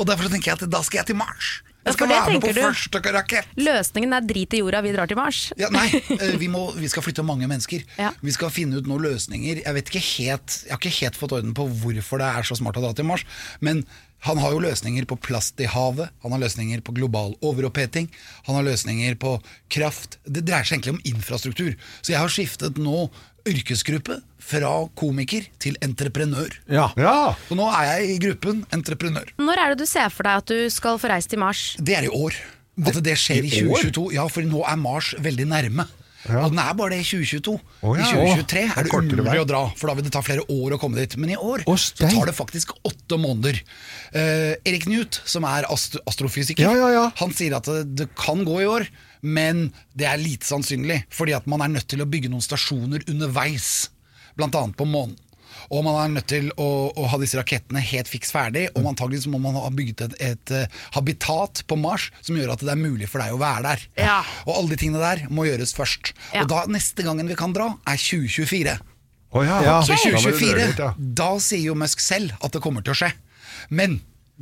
S8: Og derfor så tenker jeg at da skal jeg til Mars.
S4: Ja,
S8: Jeg skal
S4: for det
S8: være med på
S4: tenker du.
S8: første rakett.
S4: Løsningen er drit i jorda, vi drar til Mars.
S8: Ja, nei, eh, vi, må, vi skal flytte mange mennesker.
S4: Ja.
S8: Vi skal finne ut noen løsninger. Jeg, vet ikke helt, jeg har ikke helt fått orden på hvorfor det er så smart å dra til Mars, men han har jo løsninger på plast i havet, han har løsninger på global overoppheting, han har løsninger på kraft. Det dreier seg egentlig om infrastruktur. Så jeg har skiftet nå yrkesgruppe fra komiker til entreprenør.
S1: Ja.
S2: Ja!
S8: Og nå er jeg i gruppen entreprenør.
S4: Når er det du ser for deg at du skal få reise til Mars?
S8: Det er i år. At det skjer i
S1: i år?
S8: 2022. Ja, for nå er Mars veldig nærme. Og den er bare det i 2022.
S2: Å, ja.
S8: I 2023
S2: Å,
S8: er det
S2: kortere vei.
S8: umulig å dra, for da vil det ta flere år å komme dit. Men i år
S1: Å,
S8: så
S1: stein.
S8: tar det faktisk åtte måneder. Eh, Erik Newt, som er ast astrofysiker,
S1: Ja, ja, ja.
S8: han sier at det, det kan gå i år, men det er lite sannsynlig. Fordi at man er nødt til å bygge noen stasjoner underveis, blant annet på månen. Og man er nødt til å, å ha disse rakettene helt fiks ferdig, og antageligvis må man ha bygget et, et eh, habitat på Mars som gjør at det er mulig for deg å være der.
S4: Ja.
S8: Og alle de tingene der må gjøres først.
S4: Ja.
S8: Og da neste gangen vi kan dra, er 2024.
S2: Å ja.
S1: Ja.
S8: Så
S2: Ah, Da må du dra
S8: 2024,
S2: litt, ja.
S8: da sier jo Musk selv at det kommer til å skje. Men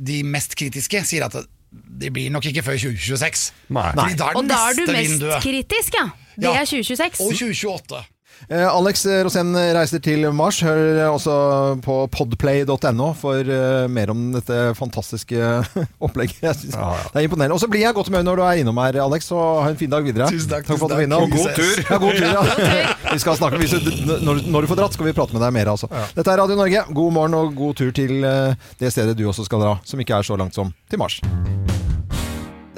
S8: de mest kritiske sier at det blir nok ikke før 2026.
S2: Nei.
S8: Fordi da er
S4: Og
S8: det
S4: da er du
S8: neste
S4: mest
S8: vinduet.
S4: kritisk, ja. Det
S8: Ja.
S4: er 2026.
S8: Og 2028.
S1: Eh, Alex Rosén reiser til Mars. Hør eh, også på podplay.no for eh, mer om dette fantastiske opplegget. Jeg synes
S2: Ja, ja.
S1: Det er imponerende. Og så blir jeg i godt humør når du er innom her, Alex. Så ha en fin dag videre.
S8: Tusen takk,
S1: for at du
S8: tusen
S1: var innom.
S8: takk. Og god
S2: tur.
S1: Ja, god tur ja. vi skal snakke, hvis du, når, når du får dratt, skal vi prate med deg mer. Altså. Dette er Radio Norge. God morgen og god tur til eh, det stedet du også skal dra, som ikke er så langt som til Mars.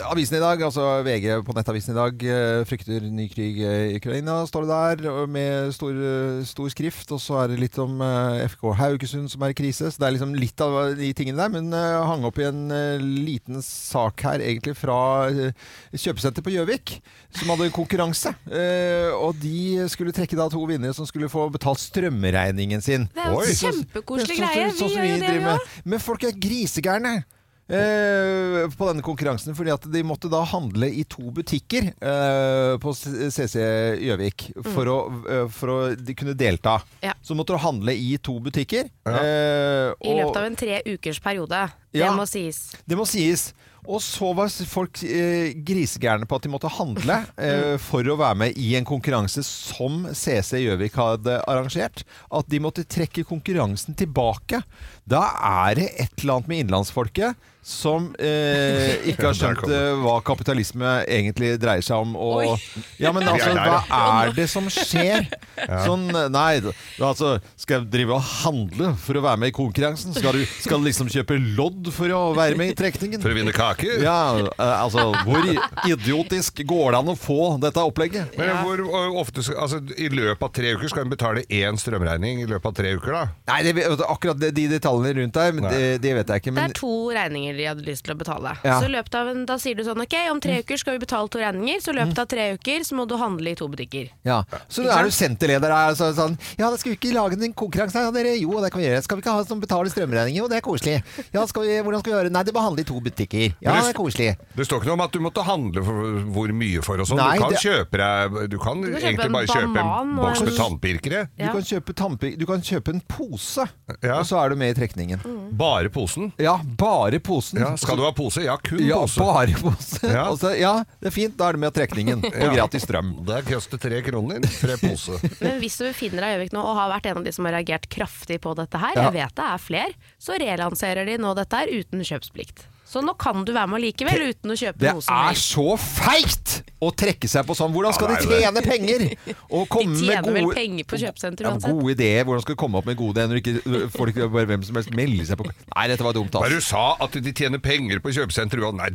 S1: Avisen i dag, altså VG på nettavisen i dag, eh, frykter ny krig eh, i Ukraina, står det der, og med stor, eh, stor skrift. Og så er det litt om eh, FK Haugesund som er i krise. Så det er liksom litt av de tingene der. Men eh, hang opp i en eh, liten sak her, egentlig fra eh, kjøpesenter på Gjøvik, som hadde konkurranse. Eh, Og de skulle trekke da to vinnere som skulle få betalt strømregningen sin.
S5: Det er jo
S1: Oi.
S5: en kjempekoselig
S1: Sånn- sånn-
S5: greie.
S1: sånn
S5: Vi
S1: som
S5: gjør jo det,
S1: driver
S5: vi
S1: med.
S5: òg.
S1: Men folk er grisegærne. eh, på denne konkurransen, fordi at de måtte da handle i to butikker eh, på C- CC Gjøvik for, å, eh, for å de kunne delta.
S4: Mm. Ja.
S1: Så måtte du handle i to butikker.
S2: Ja.
S1: eh,
S4: I løpet
S1: og-
S4: av en tre ukers periode. Det
S1: Ja.
S4: må sies.
S1: det må sies. Og så var folk eh, grisegærne på at de måtte handle eh, for å være med i en konkurranse som CC Gjøvik hadde arrangert. At de måtte trekke konkurransen tilbake. Da er det et eller annet med innlandsfolket som eh, ikke har
S2: Ja, der
S1: skjønt
S2: kom
S1: eh, hva kapitalisme egentlig dreier seg om. Og, ja, men
S2: Vi er
S1: altså,
S2: der,
S1: hva er det som skjer? Sånn, nei, da- altså, skal jeg drive og handle for å være med i konkurransen? Skal du skal du liksom kjøpe lodd for å være med i trekningen?
S2: For å vinne kaker?
S1: Ja, eh, altså, hvor idiotisk går det an å få dette opplegget?
S2: Men hvor ø, ofte skal- altså, I løpet av tre uker skal hun betale én strømregning i løpet av tre uker, da?
S1: Nei, det, vet du, akkurat de, de detaljene rundt der, men
S2: Nei.
S1: det, det vet jeg ikke.
S4: Det
S1: Men
S4: er to regninger de hadde lyst til å betale.
S1: Ja. Mm.
S4: Så i løpet av en, Da sier du sånn ok, om tre uker skal vi betale to regninger, så i løpet av tre uker så må du handle i to butikker.
S1: ja. Så er du senterleder her og så er det sånn Ja, da skal vi ikke lage en konkurranse her? Ja, dere, jo, det kan vi gjøre. Skal vi ikke ha en som betaler strømregninger? Jo, det er koselig. Ja, skal vi, hvordan skal vi gjøre det? Nei, det må handle i to butikker. Ja,
S2: Men
S1: det er koselig.
S2: Det står ikke noe om at du måtte handle for hvor mye for og sånn.
S1: Nei,
S2: Du kan
S1: det-
S2: kjøpe deg Du kan
S4: kan kjøpe
S2: egentlig
S4: en
S2: bare kjøpe en
S4: banan og
S2: boks
S4: en-
S2: med tannpirkere.
S1: Du
S4: Ja.
S1: kan kjøpe, tannpi- du kan kjøpe en pose,
S2: Ja.
S1: og så er du med i trekningen.
S4: Mm.
S2: Bare posen.
S1: Ja, bare posen.
S2: Ja, skal du ha pose? Ja, kun
S1: Ja,
S2: pose.
S1: bare pose.
S2: Ja.
S1: Og så- ja, det er fint. Da er det med trekningen. Og gratis strøm.
S2: Det koster tre kroner. Tre pose.
S4: Men hvis du befinner deg i Gjøvik nå og har vært en av de som har reagert kraftig på dette her,
S1: Ja.
S4: jeg vet det er fler, så relanserer de nå dette her uten kjøpsplikt. Så nå kan du være med likevel uten å kjøpe
S1: Det
S4: noe som
S1: er
S4: helst.
S1: så feigt å trekke seg på sånn. Hvordan skal
S2: Ja,
S1: de
S2: det er
S1: tjene penger? Og komme
S4: De
S1: med
S4: tjener
S1: gode
S4: vel penger på kjøpesenter
S1: ja, men
S4: uansett.
S1: gode ideer. Hvordan skal du komme opp med gode ideer når ikke øh, folk, bare hvem som helst melder seg på Nei, dette var dumt,
S2: Hva er det
S1: ass.
S2: du sa? At de tjener penger på kjøpesenter? Jo, Nei,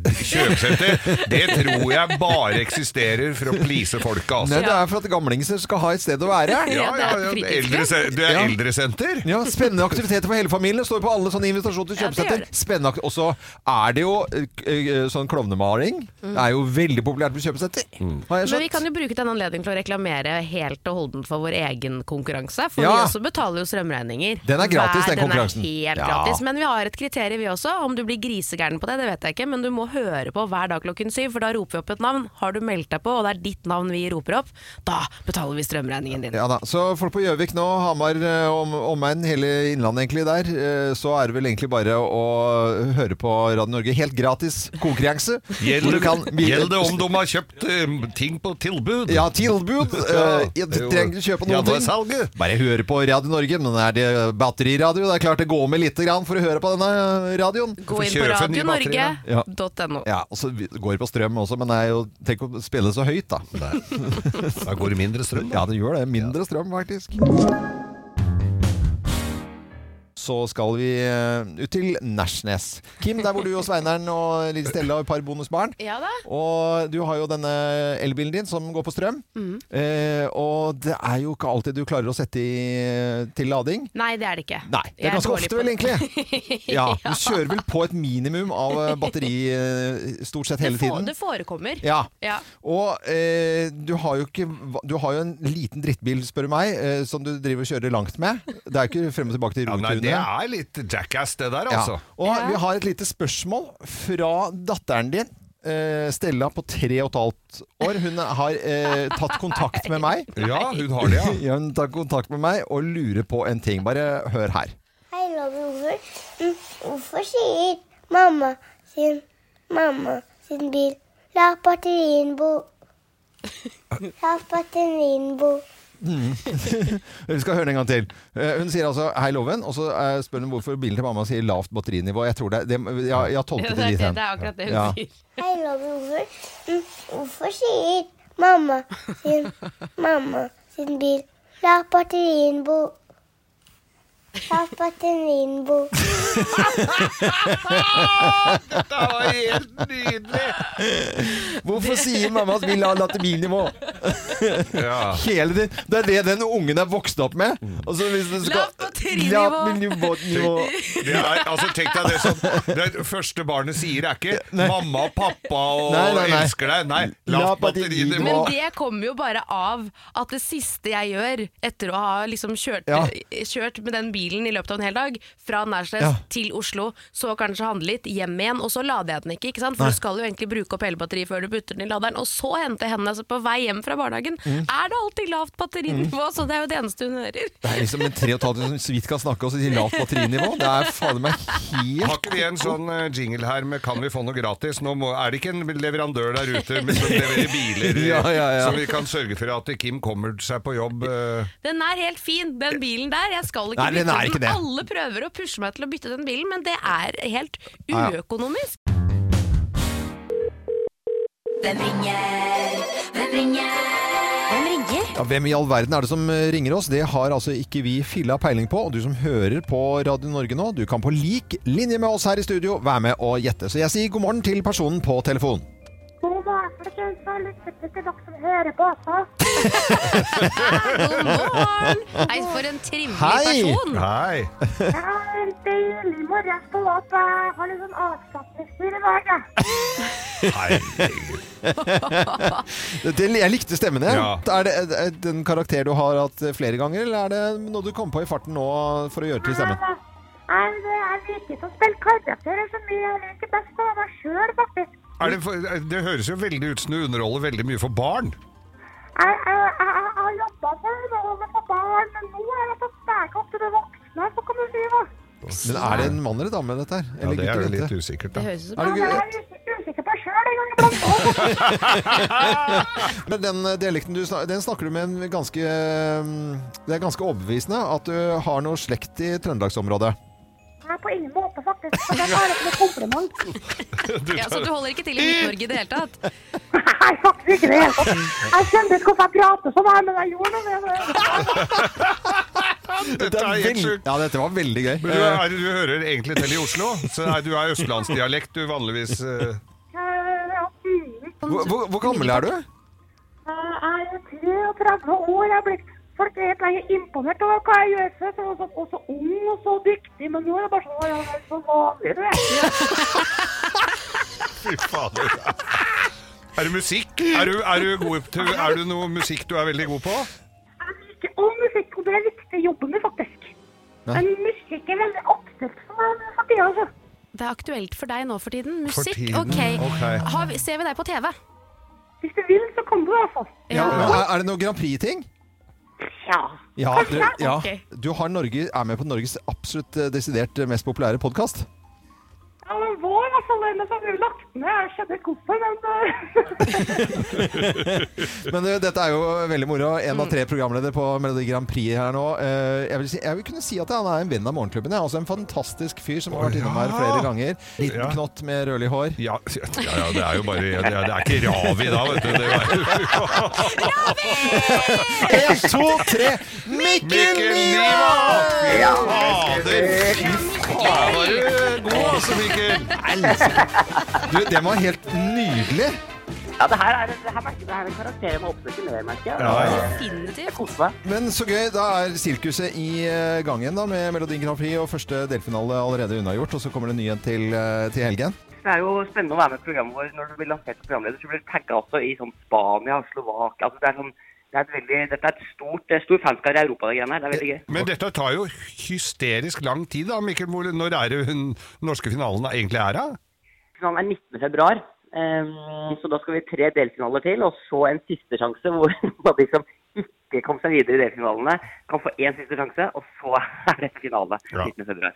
S2: kjøpesenter det tror jeg bare eksisterer for å please folket,
S1: Nei,
S2: altså.
S1: det er for at gamlinger skal ha et sted å være.
S2: Ja, ja, ja,
S4: det er et
S2: eldrese- det er
S1: Ja.
S2: eldresenter.
S1: Ja, Spennende aktiviteter for hele familien. Står på alle sånne invitasjoner til
S4: Ja, det gjør
S1: kjøpesenter.
S4: det.
S1: Spennende akt- Og så er det jo ø, ø, sånn klovnemaling. Det er jo veldig populært på kjøpesenter. Har jeg
S4: Mm. Men vi
S1: skjønt.
S4: kan jo bruke den anledningen til å reklamere helt og holdent for vår egen konkurranse. For
S1: Ja.
S4: vi også betaler jo strømregninger.
S1: Den er gratis, den
S4: Hver-
S1: konkurransen.
S4: Den er helt
S1: Ja.
S4: gratis. Men vi har et kriterium vi også. Om du blir grisegæren på det, det vet jeg ikke, men du må høre på hver dag klokken syv, for da roper vi opp et navn. Har du meldt deg på, og det er ditt navn vi roper opp, da betaler vi strømregningen din.
S1: Ja da, Så folk på Gjøvik nå, Hamar eh, om- omegn, hele Innlandet egentlig der, eh, så er det vel egentlig bare å høre på Radio Norge. Helt gratis konkurranse. hvor
S2: Gjeld
S1: du kan-
S2: gjeld det om de har kjøpt eh, ting på tilbud?
S1: Ja, tilbud. Eh,
S2: Ja,
S1: du
S2: det er jo-
S1: trenger ikke kjøpe noen
S2: Ja, det er
S1: ting.
S2: salget.
S1: Bare høre på Radio Norge, men er det batteriradio? Det er klart det går med lite grann for å høre på denne radioen.
S4: Gå inn på
S2: Kjøpe nye batterier,
S1: ja.
S4: radionorge.no.
S1: Ja, og så vi- går det på strøm også, men det er jo, tenk å spille så høyt da.
S2: Da går det mindre strøm. da.
S1: Ja, det gjør det. Mindre strøm faktisk. Så skal vi eh, ut til Nashnes. Kim, der hvor du og Sveineren og Lille Stella og et par bonusbarn.
S4: Ja da.
S1: Og du har jo denne elbilen din som går på strøm. Eh, og det er jo ikke alltid du klarer å sette i, til lading.
S4: Nei, det er det ikke.
S1: Nei, det
S4: Jeg
S1: er ganske
S4: dårlig
S1: ofte
S4: på
S1: vel
S4: det.
S1: egentlig. Ja, Du kjører vel på et minimum av eh, batteri eh, stort sett hele
S4: Det, får,
S1: tiden.
S4: det forekommer.
S1: Ja.
S4: Ja.
S1: Og eh, du, har jo ikke, du har jo en liten drittbil, spør du meg, eh, som du driver og kjører langt med. Det er jo ikke frem og tilbake til
S2: Ja, nei,
S1: rotunet.
S2: det er litt jackass, det der, altså.
S1: Og vi har et lite spørsmål fra datteren din. eh, Stella på tre og et halvt år. Hun har eh, tatt kontakt med meg.
S2: Ja, hun har det, ja.
S1: Ja, hun tar kontakt med meg og lurer på en ting. Bare hør her.
S9: Hei, Lovi, hvorfor, mm, hvorfor sier mamma sin, mamma sin bil La batterien bo. La batterien bo.
S1: Vi skal høre den en gang til. Eh, Hun sier altså 'hei, Loven', og så eh, spør hun hvorfor bilen til mamma sier lavt batterinivå. Jeg tror det, det jeg, jeg har
S4: Ja,
S1: tolket
S4: det,
S1: det
S4: er,
S1: dit
S4: det,
S1: hen.
S4: det er akkurat det hun
S1: Ja.
S4: sier.
S9: Hei, Lovi, hvorfor, mm, hvorfor sier mamma sin, mamma sin bil La batterien bo. La batterien bo.
S2: Dette var helt nydelig!
S1: Hvorfor sier mamma at vi la latibinnivå?
S2: Ja.
S1: Hele det, det er det den ungen er vokst opp med. Altså, hvis det skal,
S2: Lavpatrinivå.
S1: Lavpatrinivå.
S2: Det er, altså, tenk deg det som det første barnet sier, er ikke 'mamma og pappa og
S1: Nei, nei, nei.
S2: elsker deg'. Nei, la batteriene
S4: Men det kommer jo bare av at det siste jeg gjør etter å ha liksom kjørt,
S2: Ja.
S4: kjørt med den bilen i løpet av en hel dag, fra Nærsnes
S1: Ja.
S4: til Oslo, så kanskje handle litt, hjem igjen, og så lader jeg den ikke. ikke sant?
S1: Nei.
S4: For du skal jo egentlig bruke opp hele batteriet før du putter den i laderen, og så hente henne altså, på vei hjem fra barnehagen.
S1: Mm.
S4: Er det alltid lavt batterinivå?
S2: Mm.
S4: Så det er jo det eneste hun hører.
S1: Det er liksom en 3,5 som så vidt kan snakke og så sier lavt batterinivå. Det er fader meg helt
S2: Har ikke vi en sånn eh, jingle her med 'Kan vi få noe gratis'? Nå må, er det ikke en leverandør der ute med- som leverer biler, eh,
S1: Ja, ja, ja.
S2: så vi kan sørge for at Kim kommer seg på jobb? eh.
S4: Den er helt fin, den bilen der. Jeg skal ikke
S2: Nei, den
S4: bytte
S2: er ikke
S4: den.
S2: det.
S4: Alle prøver å pushe meg til å bytte den bilen, men det er helt
S1: Ja, ja.
S4: uøkonomisk.
S10: Hvem ringer? Hvem ringer? Hvem ringer?
S1: Ja, hvem i all verden er det som eh, ringer oss? Det har altså ikke vi filla peiling på. Og du som hører på Radio Norge nå, du kan på lik linje med oss her i studio være med og gjette. Så jeg sier god morgen til personen på telefon.
S9: God morgen, folkens, og lykke til til dere som hører på altså. også.
S4: God morgen! Hei, for en trivelig person.
S2: Hei!
S9: Jeg har en Mm. deilig morgen. Jeg står opp. Jeg har litt sånn avslapningstur i dag, jeg.
S1: Det, jeg likte stemmen din. Er det er det en karakter du har hatt eh, flere ganger, eller er det noe du kom på i farten nå for å gjøre til stemmen?
S9: Jeg, jeg liker ikke å spille karakterer så mye. Jeg liker best å være meg sjøl, faktisk.
S2: Er det, for, det høres jo veldig ut som du underholder veldig mye for barn.
S9: Jeg, jeg, jeg, jeg har jobba for underholdning for barn, men nå er jeg på steg opp til det voksne, så kan du si. da.
S1: Men er det en mann eller dame, dette her?
S2: Ja, det er jo litt
S1: usikkert,
S2: da. Det
S4: høres
S9: Ja, men jeg er us- usikker på sjøl en gang iblant.
S1: Men den eh, dialekten du snakker, den snakker du med en ganske eh, Det er ganske overbevisende at du har noe slekt i trøndelagsområdet.
S9: Jeg er på ingen måte, faktisk. Så det tar jeg som et kompliment.
S4: Ja, så du holder ikke til i Midt-Norge i det hele tatt?
S9: Nei, faktisk ikke i det hele tatt. Jeg skjønner ikke hvorfor jeg prater sånn her, men jeg gjorde noe med det.
S2: Dette er helt sjukt.
S1: Ja, dette var veldig gøy.
S2: Men du, er, du hører egentlig til i Oslo, så nei, du er østlandsdialekt du vanligvis. eh.
S9: Eh, ja, mm.
S1: Hvor, hvor, hvor gammel er du?
S9: Eh, Jeg er 33 år. Jeg er blitt Folk er helt lenge imponert over hva jeg gjør. før, For jeg var sånn, og så ung og så dyktig, men nå er det bare sånn «Å, Jeg er så vanlig, du vet.
S2: Fy fader. Er det musikk? Er du, er, du god til, er du noe musikk du er veldig god på?
S9: Ikke om musikk, og det er viktig i jobben min, faktisk. Men musikk er veldig aktuelt for meg nå for tida, altså.
S4: Det er aktuelt for deg nå for tiden.
S9: For
S4: Musikk,
S9: tiden,
S4: ok.
S1: ok.
S4: Har vi, ser vi deg på TV?
S9: Hvis du vil, så kan du i hvert fall.
S1: Ja, er, er det noe Grand Prix-ting?
S9: Ja.
S1: Ja, du, ja.
S9: Ok.
S1: du har Norge, er med på Norges absolutt eh, desidert mest populære podkast.
S9: Ja, men vår, i hvert fall. Ellers har vi jo lagt den ned. Jeg skjønner ikke hvorfor, men eh,
S1: Men eh, dette er jo veldig moro. En
S9: Mm.
S1: av tre programledere på Melodi Grand Prix her nå. Eh, Jeg vil, si, jeg vil kunne si at han er en venn av Morgenklubben. jeg. Altså en fantastisk fyr som har vært innom her flere ganger. Liten knott med rødlig hår.
S2: Ja, Ja, ja, det er jo bare Det er, det er ikke Ravi da, vet du. Det er,
S1: En, to, tre! Mikkel Niva!
S2: Ja, fader! Fy faen, var du god altså, Mikkel.
S1: Du, det var helt nydelig.
S11: Ja, det her er, det her, merker- det her er en karakter jeg må oppsøke mer, merker jeg.
S1: Ja, ja.
S11: Definitivt. Kose meg.
S1: Men så gøy. Da er sirkuset i eh, gang igjen da med Melodi Grand Prix, og første delfinale allerede unnagjort. Og så kommer det en ny en til, eh, til helgen.
S11: Det er jo spennende å være med i programmet vårt. Når du blir lansert som programleder, så blir du tagget også i sånn Spania og Slovakia. Altså, det er sånn, det er et veldig, dette er et stort, det er stor fanskare i Europa, det greiene her. Det er veldig gøy.
S2: Men dette tar jo hysterisk lang tid, da, Mikkel. Hvor- Når er det den norske finalen egentlig er, da?
S11: Finalen er 19. februar. ehm, så da skal vi tre delfinaler til, og så en siste sjanse hvor hvor de som ikke kom seg videre i delfinalene, kan få én siste sjanse, og så er det finale. 19. februar.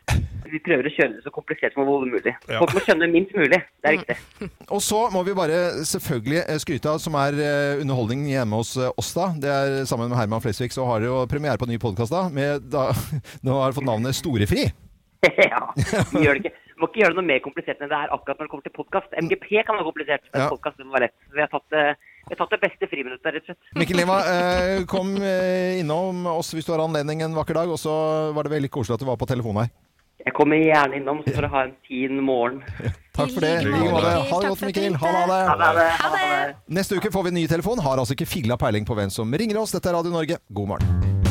S11: Vi prøver å kjøre det så komplisert som overhodet mulig. Folk må skjønne minst mulig. Det er viktig.
S1: Og så må vi bare selvfølgelig eh, skryte av, som er eh, underholdning hjemme hos eh, oss da. Det er sammen med Herman Flesvig, så har dere jo premiere på en ny podkast da. Med, da. Nå har dere fått navnet Storefri.
S11: ja, vi gjør det ikke. Vi må ikke gjøre det noe mer komplisert enn det er akkurat når det kommer til podkast. MGP kan være komplisert, men
S1: Ja.
S11: podcast, det må være lett. Vi har tatt eh, Vi har tatt det beste friminuttet, rett og slett.
S1: Mikkel Lima, eh, kom eh, innom oss hvis du har anledning en vakker dag. Og så var det veldig koselig at du var på telefonen her.
S11: Jeg kommer gjerne innom, så får du ha en fin morgen.
S1: Takk for det. I like måte. Ha det godt, Mikkel. Ha det.
S11: Ha det. Ha det.
S1: Neste uke får vi ny telefon. Har altså ikke filla peiling på hvem som ringer oss. Dette er Radio Norge. God morgen.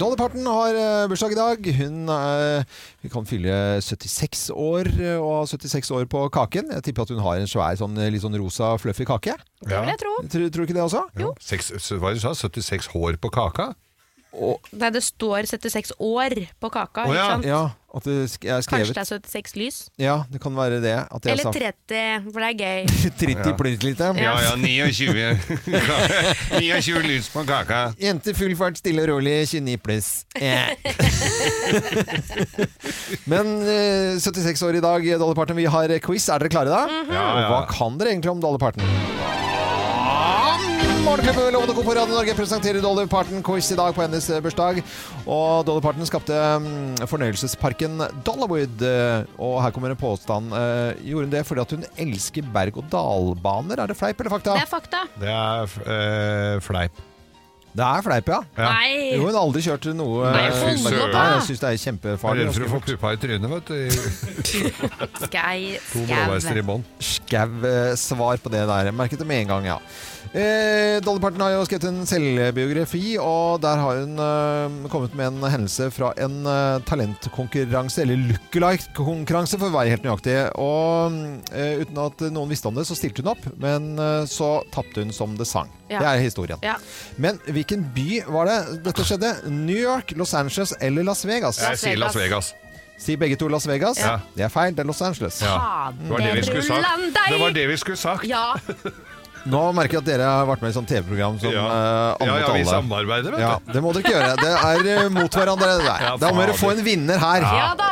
S1: Dolly Parton har eh, bursdag i dag. Hun eh, vi kan fylle 76 år eh, og ha 76 år på kaken. Jeg tipper at hun har en svær, sånn, eh, litt sånn rosa, fluffy kake.
S2: Det vil jeg
S1: tro. Tror, tror du ikke det også?
S2: Jo. Seks, hva du sa 76 hår på kaka?
S4: Nei, det står 76 år på kaka,
S1: Å
S4: ikke sant?
S1: ja, at det sk- er
S4: Kanskje
S1: skrevet.
S4: det er 76 lys?
S1: Ja, det kan være det. At jeg
S4: Eller
S1: sa-
S4: 30, for det er gøy.
S1: 30 plint litt.
S2: Ja, ja, 29. 29 lys på kaka.
S1: Jente full fart, stille og rolig, 29 pluss. Eh. Men eh, 76 år i dag, Dolly Parton. Vi har quiz. Er dere klare da?
S2: Ja, ja.
S1: Og Hva kan dere egentlig om Dolly Parton? Ah, Morgenklubben med Lovende Co på Radio Norge presenterer Dolly Parton-quiz i dag på hennes eh, bursdag. Og Dolly Parton skapte mm, fornøyelsesparken Dollywood. eh, Og her kommer en påstand. Eh, Gjorde hun det fordi at hun elsker berg-og-dal-baner? Er det fleip eller fakta?
S4: Det er fakta.
S2: Det er eh, fleip.
S1: Det er fleip, ja.
S4: Nei.
S1: Jo, hun har aldri kjørt noe
S2: Nei,
S1: eh,
S2: fy
S1: Nei,
S2: søren.
S1: Jeg syns det er
S2: Jeg er
S1: kjempefarlig.
S2: redd for å få puppa i trynet, vet du.
S4: Skei,
S2: To blåbærster i bånn.
S1: Skau eh, svar på det der. Jeg Merket det med en gang, ja. Eh, Dolly Parton har jo skrevet en selvbiografi, og der har hun eh, kommet med en hendelse fra en eh, talentkonkurranse, eller lookalike-konkurranse, for å være helt nøyaktig. Og eh, uten at noen visste om det, så stilte hun opp, men eh, så tapte hun som det sang.
S4: Ja.
S1: Det er historien.
S4: Ja.
S1: Men hvilken by var det dette skjedde? New York, Los Angeles eller Las Vegas?
S2: Jeg sier Las Vegas.
S1: Sier begge to Las Vegas?
S2: Ja.
S1: Det er feil, det er Los Angeles.
S2: Det var det vi skulle sagt. Det var det vi skulle sagt.
S4: Ja.
S1: Nå merker jeg at dere har vært med i sånn TV-program som ja.
S2: Ja, ja, vi samarbeider, vet du.
S1: Ja, det må dere ikke gjøre. Det er eh, mot hverandre. Det der.
S2: Ja,
S1: da må dere
S2: fader.
S1: få en vinner her.
S2: Ja
S4: da.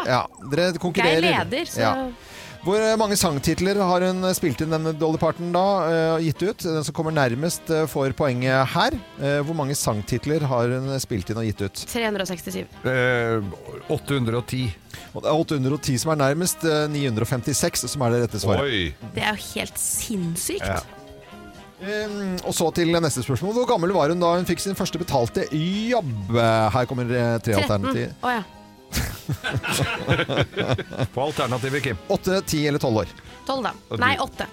S1: Dere konkurrerer.
S4: Jeg leder, så-
S1: Hvor eh, mange sangtitler har hun eh, spilt inn denne Dolly Parton da, eh, og gitt ut? Den som kommer nærmest eh, får poenget her. Eh, Hvor mange sangtitler har hun eh, spilt inn og gitt ut?
S4: 367.
S2: Eh, 810.
S1: Og det er 810 som er nærmest, eh, 956 som er det rette svaret.
S2: Oi.
S4: Det er jo helt sinnssykt.
S1: Ja. Um, og så til neste spørsmål. Hvor gammel var hun da hun fikk sin første betalte jobb? Her kommer eh, tre
S4: 13.
S1: alternativer.
S4: Å ja.
S2: På alternativet, Kim.
S1: 8, 10 eller 12 år.
S4: 12, da.
S2: Og
S4: Nei,
S2: du-
S4: 8.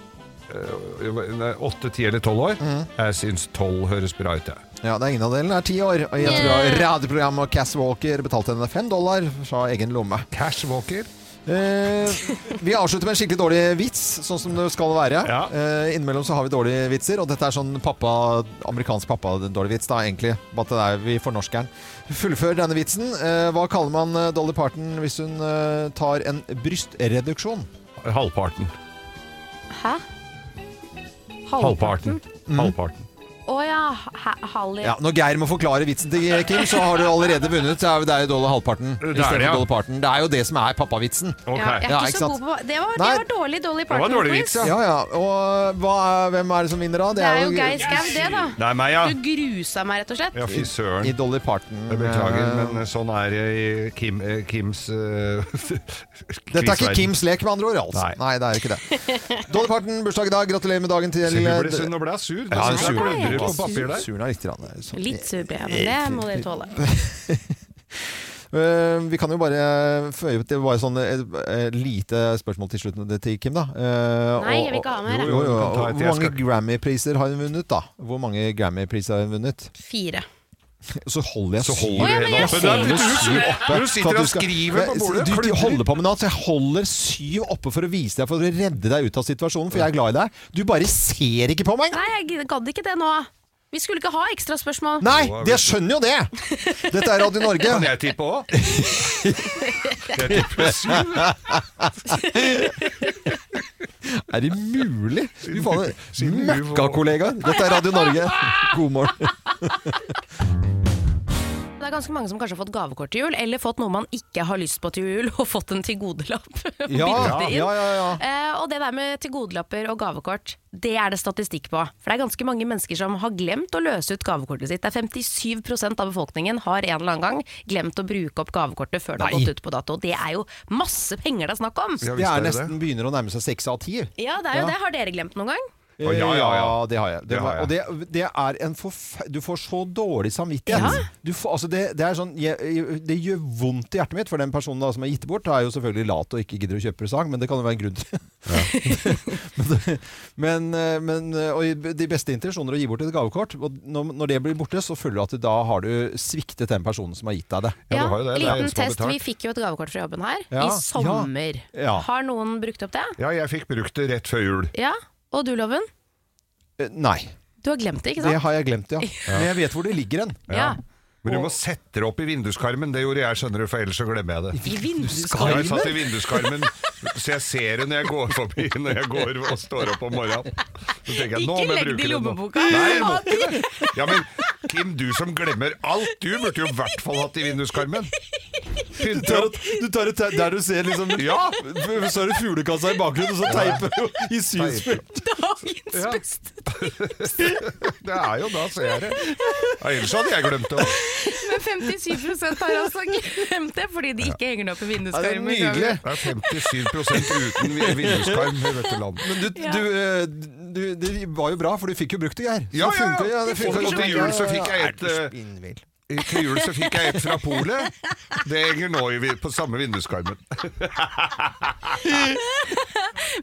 S2: Eh, 8, 10 eller 12 år.
S1: Mm.
S2: Jeg syns 12 høres bra ut, jeg.
S1: Ja, det er ingen av delene. Det er ti år. Og i et
S2: Yeah.
S1: radioprogram og Cass Walker betalte henne fem dollar fra egen lomme. Ehm,
S2: Cash Walker?
S1: vi avslutter med en skikkelig dårlig vits, sånn som det skal være. Eh, innimellom så har vi dårlige vitser, og dette er sånn pappa, amerikansk pappa-dårlig vits, da, egentlig. Bare at det er vi fornorsker den. Fullfør denne vitsen. Eh, hva kaller man eh, Dolly Parton hvis hun eh, tar en brystreduksjon?
S2: Halvparten.
S4: Hæ?
S2: Halvparten.
S1: Mm.
S2: Halvparten.
S4: Å ja. Ha Halli.
S1: Ja, når Geir må forklare vitsen til Kim, så har du allerede vunnet. Så er det er jo Dolly halvparten.
S2: er det,
S1: istedenfor
S2: ja.
S1: Dolly Parton. Det er jo det som er pappavitsen.
S4: Ja, jeg er ikke, så god på Det var, det
S1: Nei.
S4: var dårlig Dolly Parton.
S1: Ja, ja. Og eh, hva er, hvem er det som vinner da?
S4: Det er jo Geir Skau, det, da.
S2: Det er meg, ja.
S4: Du grusa meg, rett og slett.
S2: Ja, fy søren.
S1: I Dolly Parton.
S2: Jeg beklager, men sånn er det i Kim, eh, Kims eh,
S1: Dette er ikke
S2: quizverden.
S1: Kims lek, med andre ord. Altså. Nei.
S2: Nei.
S1: det er jo ikke det. Dolly Parton, bursdag i dag. Gratulerer med dagen til
S2: Se, nå ble- se, nå ble jeg sur. Nå
S1: eh, Ja,
S2: synes jeg glødder på papir der.
S1: Sur er litt grann, eh, sånn.
S4: Litt sur ble jeg, men det må dere tåle.
S1: Eh, vi kan jo bare føye til bare sånn eh, eh, lite spørsmål til slutten til Kim, da. Eh,
S4: Nei, jeg vil ikke ha mer, jeg.
S1: Jo, jo, jo,
S2: Du kan ta
S1: og
S2: et, jeg
S1: Hvor mange Grammy-priser har hun vunnet, da? Hvor mange Grammy-priser har hun vunnet?
S4: Fire.
S1: Så holder jeg
S2: Så
S1: syv
S2: holder du Å, ja, men hele jeg oppe. ser
S1: holder
S2: det.
S1: syv oppe.
S2: Du sitter
S1: for at
S2: og skriver på
S1: Men,
S2: bordet,
S1: Du,
S2: klubber.
S1: du holder på med noe, så jeg holder syv oppe for å vise deg, for å redde deg ut av situasjonen, for jeg er glad i deg. Du bare ser ikke på meg!
S4: Nei, jeg gadd ikke det nå. Vi skulle ikke ha ekstra spørsmål.
S1: Nei, jeg skjønner jo det! Dette er Radio Norge.
S2: Kan jeg tippe òg? Jeg tipper
S1: Er det mulig? Du faen,
S2: Siden du var-
S1: møkkakollegaer! Dette er Radio Norge. God morgen.
S4: Det er ganske mange som kanskje har fått gavekort til jul, eller fått noe man ikke har lyst på til jul, og fått en tilgodelapp. og
S1: Ja,
S4: bildet inn.
S1: ja, ja, ja.
S4: Eh, og det der med tilgodelapper og gavekort, det er det statistikk på. For det er ganske mange mennesker som har glemt å løse ut gavekortet sitt. Det er 57 av befolkningen har en eller annen gang glemt å bruke opp gavekortet før det har
S1: Nei.
S4: gått ut på dato. Det er jo masse penger det er snakk om.
S1: Det er nesten begynner å nærme seg seks av ti.
S4: Ja, det er jo det. Har dere glemt noen gang?
S2: Å, ja, ja, ja.
S1: det har jeg. Det
S2: Det har
S1: var- og det, det er en forfe... Du får så dårlig samvittighet. Du får, altså det, det, er sånn, jeg, jeg- det gjør vondt i hjertet mitt, for den personen da, som er gitt bort, er jo selvfølgelig lat og ikke gidder å kjøpe presang, men det kan jo være en grunn til men, eh, men, eh, og i- de beste intensjoner å gi bort et gavekort, og når, når det blir borte, så føler du at du, da har du sviktet den personen som har gitt deg det.
S4: Ja, liten test. Vi fikk jo et gavekort fra jobben her
S1: Ja,
S4: i sommer.
S1: ja, ja.
S4: Har noen brukt opp det?
S2: Ja, jeg fikk brukt det rett før jul.
S4: Ja. Og du, Loven?
S1: Eh, Nei.
S4: Du har glemt det, ikke sant?
S1: Det har jeg glemt, ja. Men jeg vet hvor det ligger hen.
S4: Ja.
S2: Men du må sette det opp i vinduskarmen. Det gjorde jeg, skjønner du, for ellers så glemmer jeg det.
S4: I
S2: Ja, Jeg satt i vinduskarmen, så jeg ser det når jeg går forbi, når jeg går og står opp om morgenen. Så tenker jeg,
S10: Ikke
S2: nå må jeg
S10: legg det i
S2: bruke nå.
S10: lommeboka.
S2: Nei, jeg må ikke det. Ja, men Kim, du som glemmer alt, du burde jo i hvert fall hatt i vinduskarmen. Du
S1: tar, et, du tar et tei- der du ser liksom
S2: Ja!
S1: Så er det fuglekassa i bakgrunnen, og så teiper du i synsfullt.
S10: Dagens
S2: Ja.
S10: beste
S2: Det er jo da, ser jeg det. Ja, ellers hadde jeg glemt det også.
S4: Men 57 har altså glemt det fordi de ikke henger det opp i vinduskarmen.
S2: Det er 57 uten vi- vinduskarm i dette landet.
S1: Men du,
S4: Ja.
S1: du, eh, du, det var jo bra, for du fikk jo brukt det, Geir. Så det
S2: Ja, ja,
S1: funker, ja, det funker.
S2: Og til jul så fikk jeg et
S1: Er du
S2: eh, Til jul så fikk jeg et fra polet. Det henger nå i vi- på samme vinduskarmen.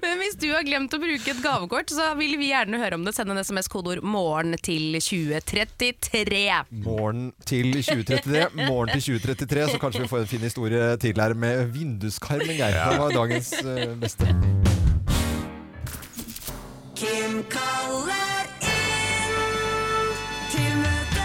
S4: Men hvis du har glemt å bruke et gavekort, så vil vi gjerne høre om det. Send en SMS-kodeord 'morgen' til 2033.
S1: Morgen til 2033, morgen til 2033, så kanskje vi får en fin historie til her med vinduskarmen, Geir. Det var dagens eh, beste.
S10: Kim kaller inn til møte.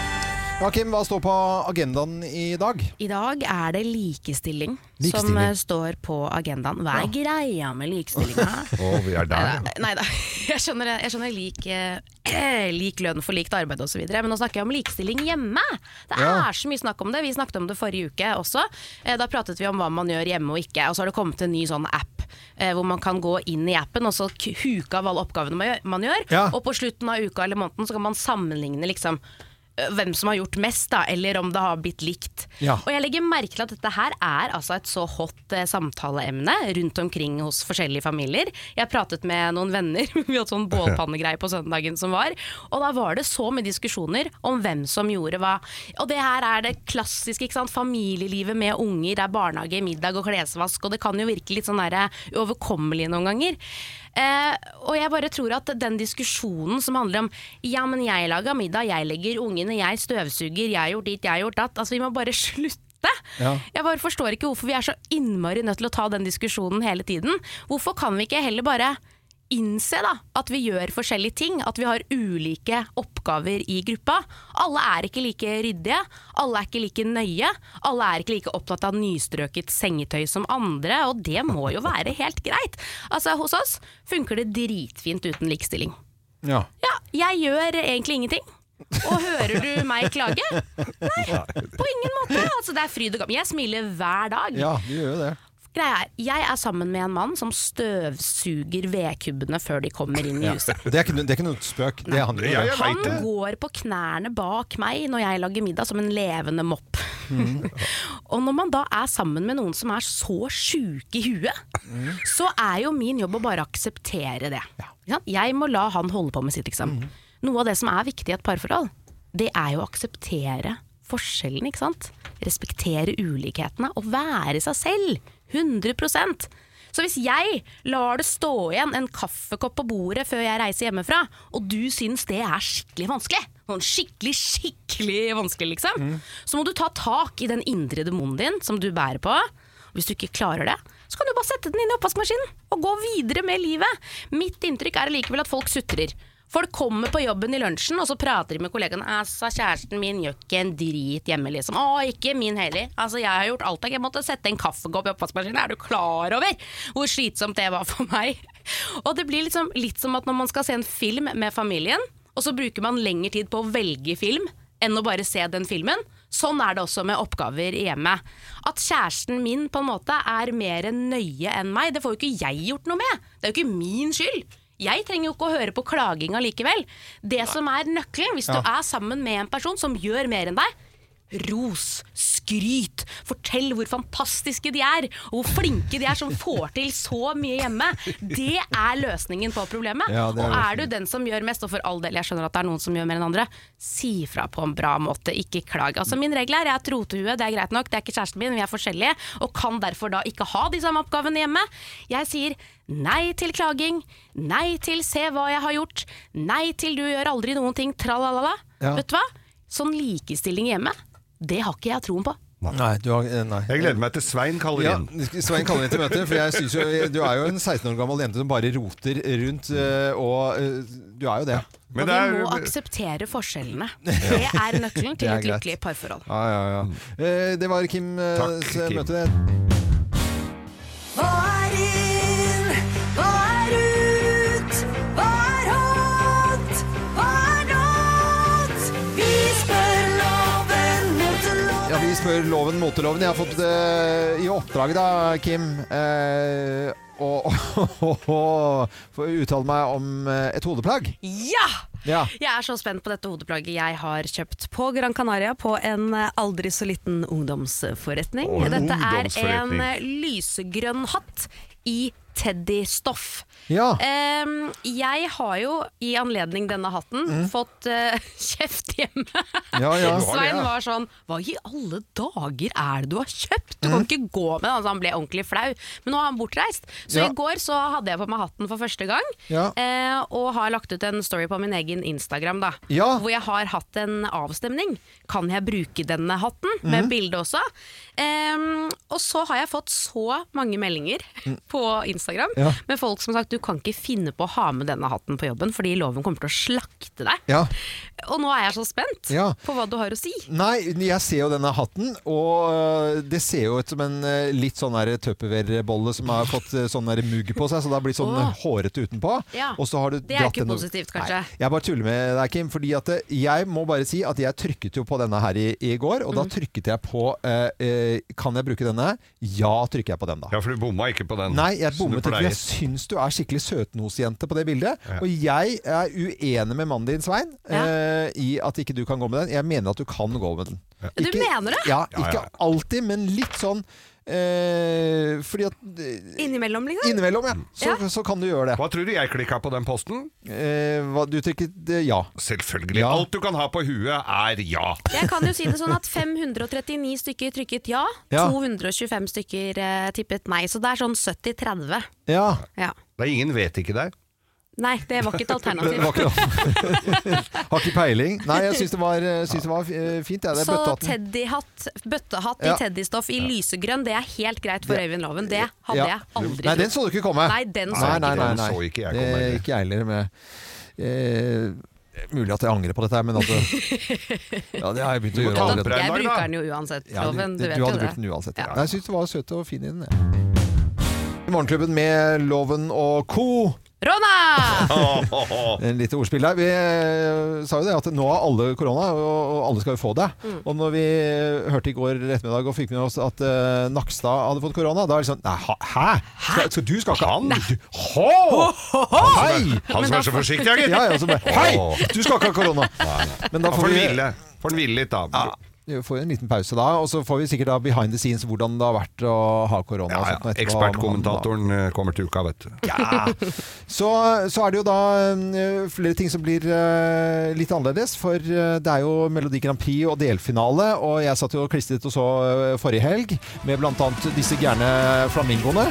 S1: Ja, Kim, hva står på agendaen i dag?
S4: I dag er det likestilling, som
S1: Likestilling.
S4: eh, står på agendaen. Hva er greia med likestillinga?
S2: Å, vi er der, ja.
S4: Nei da, jeg skjønner, jeg skjønner lik, eh, lik lønn for likt arbeid osv., men nå snakker jeg om likestilling hjemme. Det
S10: Ja.
S4: er så mye snakk om det. Vi snakket om det forrige uke også. Eh, da pratet vi om hva man gjør hjemme og ikke, og så har det kommet en ny sånn app. eh, Hvor man kan gå inn i appen og så k- huke av alle oppgavene man gjør. Man gjør.
S10: Ja.
S4: Og på slutten av uka eller måneden så kan man sammenligne liksom, eh, hvem som har gjort mest, da, eller om det har blitt likt.
S10: Ja.
S4: Og jeg legger merke til at dette her er altså et så hot eh, samtaleemne rundt omkring hos forskjellige familier. Jeg pratet med noen venner, vi hadde sånn bålpannegreie på søndagen som var, og da var det så mye diskusjoner om hvem som gjorde hva. Og det her er det klassiske, ikke sant, familielivet med unger, det er barnehage, middag og klesvask, og det kan jo virke litt sånn der uoverkommelig noen ganger. Eh, og jeg bare tror at den diskusjonen som handler om ja, men jeg lager middag, jeg legger ungene, jeg støvsuger, jeg har gjort dit, jeg har gjort datt, altså vi må bare slutte. Jeg bare forstår ikke hvorfor vi er så innmari nødt til å ta den diskusjonen hele tiden. Hvorfor kan vi ikke heller bare innse da, at vi gjør forskjellige ting, at vi har ulike oppgaver i gruppa. Alle er ikke like ryddige, alle er ikke like nøye, alle er ikke like opptatt av nystrøket sengetøy som andre, og det må jo være helt greit. Altså, hos oss funker det dritfint uten likestilling.
S1: Ja.
S4: Ja, jeg gjør egentlig ingenting. Og hører du meg klage? På ingen måte! Altså, det er fryd og gammen. Jeg smiler hver dag.
S1: Ja, du gjør jo det.
S4: Greia er, jeg er sammen med en mann som støvsuger vedkubbene før de kommer inn i
S1: Ja.
S4: huset.
S1: Det er ikke, det er ikke noe spøk. Det handler om det.
S4: Han går på knærne bak meg når jeg lager middag, som en levende mopp.
S1: Mm.
S4: Og når man da er sammen med noen som er så sjuke i huet,
S1: Mm.
S4: så er jo min jobb å bare akseptere det. Ikke sant? Jeg må la han holde på med sitt, liksom.
S1: Mm.
S4: Noe av det som er viktig i et parforhold, det er jo å akseptere forskjellen, ikke sant? Respektere ulikhetene og være seg selv. 100 så hvis jeg lar det stå igjen en kaffekopp på bordet før jeg reiser hjemmefra, og du syns det er skikkelig vanskelig, sånn skikkelig, skikkelig vanskelig, liksom, så må du ta tak i den indre demonen din som du bærer på. Hvis du ikke klarer det, så kan du bare sette den inn i oppvaskmaskinen og gå videre med livet. Mitt inntrykk er allikevel at folk sutrer. Folk kommer på jobben i lunsjen, og så prater de med kollegaen. Altså, kjæresten min gjør ikke en drit hjemme, liksom. Å, ikke min heller. Altså, jeg har gjort alt jeg måtte sette en kaffekopp i oppvaskmaskinen. Er du klar over hvor slitsomt det var for meg? Og det blir liksom litt som at når man skal se en film med familien, og så bruker man lengre tid på å velge film enn å bare se den filmen. Sånn er det også med oppgaver i hjemmet. At kjæresten min på en måte er mer nøye enn meg, det får jo ikke jeg gjort noe med. Det er jo ikke min skyld. Jeg trenger jo ikke å høre på klaging allikevel. Det som er nøkkelen, hvis
S10: Ja.
S4: du er sammen med en person som gjør mer enn deg, ros, skryt, Fortell hvor fantastiske de er, og hvor flinke de er som får til så mye hjemme. Det er løsningen på problemet.
S10: Ja, det er
S4: og er du
S10: løsningen.
S4: den som gjør mest, og for all del, jeg skjønner at det er noen som gjør mer enn andre, si fra på en bra måte, ikke klag. Altså Min regel er jeg er et rotehue, det er greit nok, det er ikke kjæresten min, vi er forskjellige, og kan derfor da ikke ha de samme oppgavene hjemme. Jeg sier nei til klaging, nei til se hva jeg har gjort, nei til du gjør aldri noen ting, tralalala.
S1: Ja.
S4: Vet du hva? Sånn likestilling hjemme, det har ikke jeg troen på.
S1: Nei, du har, eh, nei.
S2: Jeg gleder meg til Svein kaller
S1: Ja,
S2: inn.
S1: Svein kaller inn til møte, for jeg synes jo, du er jo en 16 år gammel jente som bare roter
S2: Mm.
S1: rundt, eh, og eh, du er jo det.
S4: Og vi må akseptere forskjellene. Det er nøkkelen
S1: Det
S4: til
S1: er
S4: et
S1: greit.
S4: lykkelig parforhold.
S1: Ja, ja, ja.
S2: Mm.
S1: Eh, Det var Kims
S10: Kim.
S1: møte.
S10: Hva er inn? Hva er ut? Hva er hot? Hva er not? Vi spør loven mot loven.
S1: Ja, vi spør loven moteloven. Jeg har fått eh, i oppdrag da, Kim, eh, å få uttale meg om eh, et hodeplagg.
S4: Ja!
S1: Ja.
S4: Jeg er så spent på dette hodeplagget jeg har kjøpt på Gran Canaria på en eh, aldri så liten ungdomsforretning.
S10: Å, en
S4: dette er en
S10: ungdomsforretning.
S4: eh, lysegrønn hatt i teddystoff.
S10: Ja.
S4: Ehm, jeg har jo i anledning denne hatten fått eh, kjeft hjemme.
S10: Mm. Ja, ja.
S4: Svein var sånn Hva i alle dager er det du har kjøpt? Du
S10: Mm.
S4: kan ikke gå med den. Altså, han ble ordentlig flau. Men nå er han bortreist. Så
S10: Ja.
S4: i går så hadde jeg på meg hatten for første gang.
S10: Ja.
S4: Eh, og har lagt ut en story på min egen Instagram, da.
S10: Ja.
S4: Hvor jeg har hatt en avstemning. Kan jeg bruke denne hatten?
S10: Mhm.
S4: Med bilde også. Ehm, og så har jeg fått så mange meldinger på Instagram
S10: Mm. Ja.
S4: med folk som har sagt du kan ikke finne på å ha med denne hatten på jobben fordi loven kommer til å slakte deg.
S1: Ja.
S4: Og nå er jeg så spent
S1: Ja.
S4: på hva du har å si.
S1: Nei, jeg ser jo denne hatten, og øh, det ser jo ut som en øh, litt sånn der tupperware-bolle som har fått øh, sånn der mugg på seg, så det har blitt sånn
S4: Åh.
S1: øh, hårete utenpå.
S4: Ja.
S1: Og så har du
S4: Det er
S1: dratt
S4: ikke
S1: den-
S4: positivt, kanskje.
S1: Nei, jeg bare tuller med deg, Kim, fordi at øh, jeg må bare si at jeg trykket jo på denne her i, i går, og da
S4: Mm.
S1: trykket jeg på øh, øh, Kan jeg bruke denne? Ja, trykker jeg på den, da.
S2: Ja, for du bomma ikke på den.
S1: Nei, jeg
S2: som du
S1: bommet ikke.
S2: pleier.
S1: Jeg syns du er skikkelig søtnosjente på det bildet. Og jeg er uenig med mannen din, Svein, eh, i at ikke du kan gå med den. Jeg mener at du kan gå med den.
S4: Du mener det?
S1: Ja,
S4: Ja,
S1: ikke
S4: ja.
S1: alltid, men litt sånn eh, Fordi at eh,
S4: Innimellom, liksom?
S1: Innimellom, ja. Så, så kan du gjøre det.
S2: Hva tror du jeg klikka på den posten?
S1: Eh, hva, du trykket eh, ja.
S2: Selvfølgelig.
S1: Ja.
S2: Alt du kan ha på huet, er ja.
S4: Jeg kan jo si det sånn at 539 stykker trykket ja,
S2: Ja.
S4: 225 stykker eh, tippet nei. Så det er sånn 70-30.
S1: Ja.
S4: Ja.
S2: Det er ingen vet ikke deg.
S4: Nei, det var ikke et
S1: Det var
S4: alternativ.
S1: Har ikke peiling. Nei, jeg syns det var, eh, syns det var eh, fint. jeg. Det er
S4: Så
S1: bøttehatten.
S4: teddyhatt, bøttehatt
S1: Ja.
S4: i teddystoff i lysegrønn, det er helt greit for
S1: Det-
S4: Øyvind Loven. Det hadde
S1: Ja.
S4: jeg aldri
S1: Nei, den så du ikke komme.
S4: Nei, den så
S1: nei,
S4: jeg
S1: nei, nei,
S4: ikke
S1: nei.
S4: komme.
S2: Den så ikke jeg
S1: Det-
S2: komme heller.
S1: Ikke jeg heller. Med, eh, mulig at jeg angrer på dette, her, men altså Ja, det har jeg begynt å
S2: Du må
S1: gjøre
S2: ta
S1: allerede.
S2: den på
S4: Jeg bruker den jo uansett,
S1: Ja,
S4: Loven. Du, vet
S1: du
S4: jo
S1: hadde
S4: det.
S1: brukt den uansett. Ja. Jeg syns du var søt og fin i den. jeg. I Morgenklubben med Loven og co.
S4: Ronna!
S1: En lite ordspill der. Vi eh, sa jo det at nå har alle korona, og og alle skal jo få det.
S10: Mm.
S1: Og når vi eh, hørte i går ettermiddag og fikk med oss at eh, Nakstad hadde fått korona, da er det sånn Nei, ha- hæ? Skal, skal, du skal ikke han? Hå! Hei!
S2: Han som er så forsiktig,
S1: ja,
S2: gitt.
S1: ja, så bare, Hei! Du skal ikke ha korona. Men da
S2: Ja,
S1: får
S2: får den
S1: vi-
S2: hvile. Får den hvile litt, da.
S1: Vi får en liten pause da, og så får vi sikkert da behind the scenes hvordan det har vært å ha korona. og sånt nå etterpå.
S2: Ekspertkommentatoren eh, kommer til uka, vet du.
S1: Så, så er det jo da eh, flere ting som blir eh, litt annerledes, for eh, det er jo Melodi Grand Prix og delfinale, og jeg satt jo og klistret og så eh, forrige helg med blant annet disse gærne flamingoene.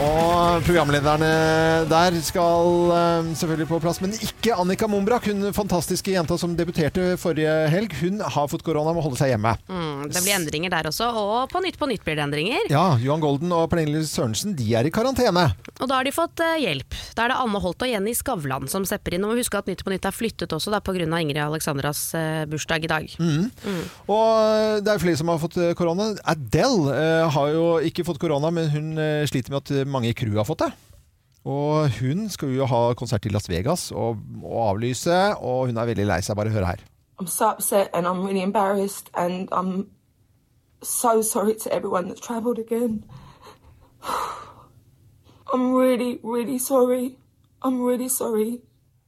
S1: Og programlederne der skal eh, selvfølgelig på plass, men ikke Annika Mombrak, hun fantastiske jenta som debuterte forrige helg. Hun har fått korona og må holde seg hjemme.
S4: Mm, det blir endringer der også, og på nytt på nytt blir det endringer.
S1: Ja, Johan Golden og Pernille Sørensen de er i karantene.
S4: Og da har de fått eh, hjelp. Da er det Anne Holt og Jenny Skavlan som stepper inn. Og husk at Nytt på Nytt er flyttet også, da, på grunn av Ingrid Alexandras eh, bursdag i dag.
S1: Mhm. Og det er flere som har fått eh, korona. Adele eh, har jo ikke fått korona, men hun eh, sliter med at eh, mange i crewet har fått det. Og hun skal jo ha konsert i Las Vegas og, og avlyse, og hun er veldig lei seg. Bare hør her.
S12: I'm so upset and I'm really embarrassed and I'm so sorry to everyone that's travelled again. I'm really, really sorry. I'm really sorry.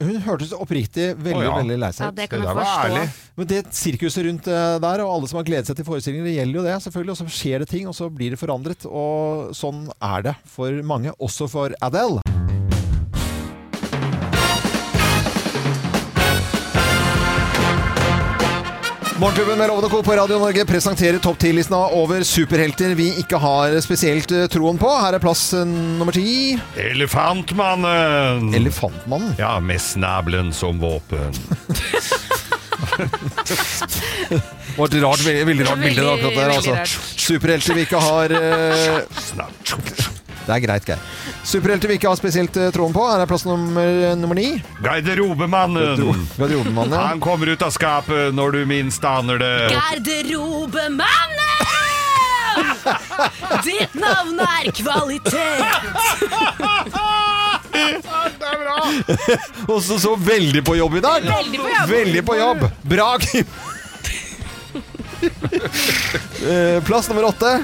S1: hun hørtes oppriktig veldig
S2: Å, ja.
S1: veldig lei seg
S2: Ja,
S1: ut.
S2: det kan Det jeg der var forstå. ærlig.
S1: Men det sirkuset rundt eh, der, og alle som har gledet seg til forestillingen, det gjelder jo det, selvfølgelig. Og så skjer det ting, og så blir det forandret. Og sånn er det for mange, også for Adele. Morgenklubben med Lovende Co. på Radio Norge presenterer topp 10-listen over superhelter vi ikke har spesielt eh, troen på. Her er plass eh, nummer ti.
S2: Elefantmannen!
S1: Mm. Elefantmannen?
S2: Ja, med snabelen som våpen.
S1: Det var et rart, veldig, veldig rart bilde. da, akkurat der,
S2: Veldig, veldig
S1: altså. Superhelter vi ikke har eh, Det er greit, Geir. Superhelter vi ikke har spesielt eh, troen på. Her er plass nummer, eh, nummer ni. Mm.
S2: Garderobemannen!
S1: Garderobemannen, ja.
S2: Han kommer ut av skapet når du minst aner det.
S10: Garderobemannen! Ditt navn er kvalitet!
S2: Det er bra!
S1: Og så så veldig på jobb i dag.
S10: Veldig på jobb.
S1: Veldig på jobb. Bra, Kim. Eh, plass nummer åtte.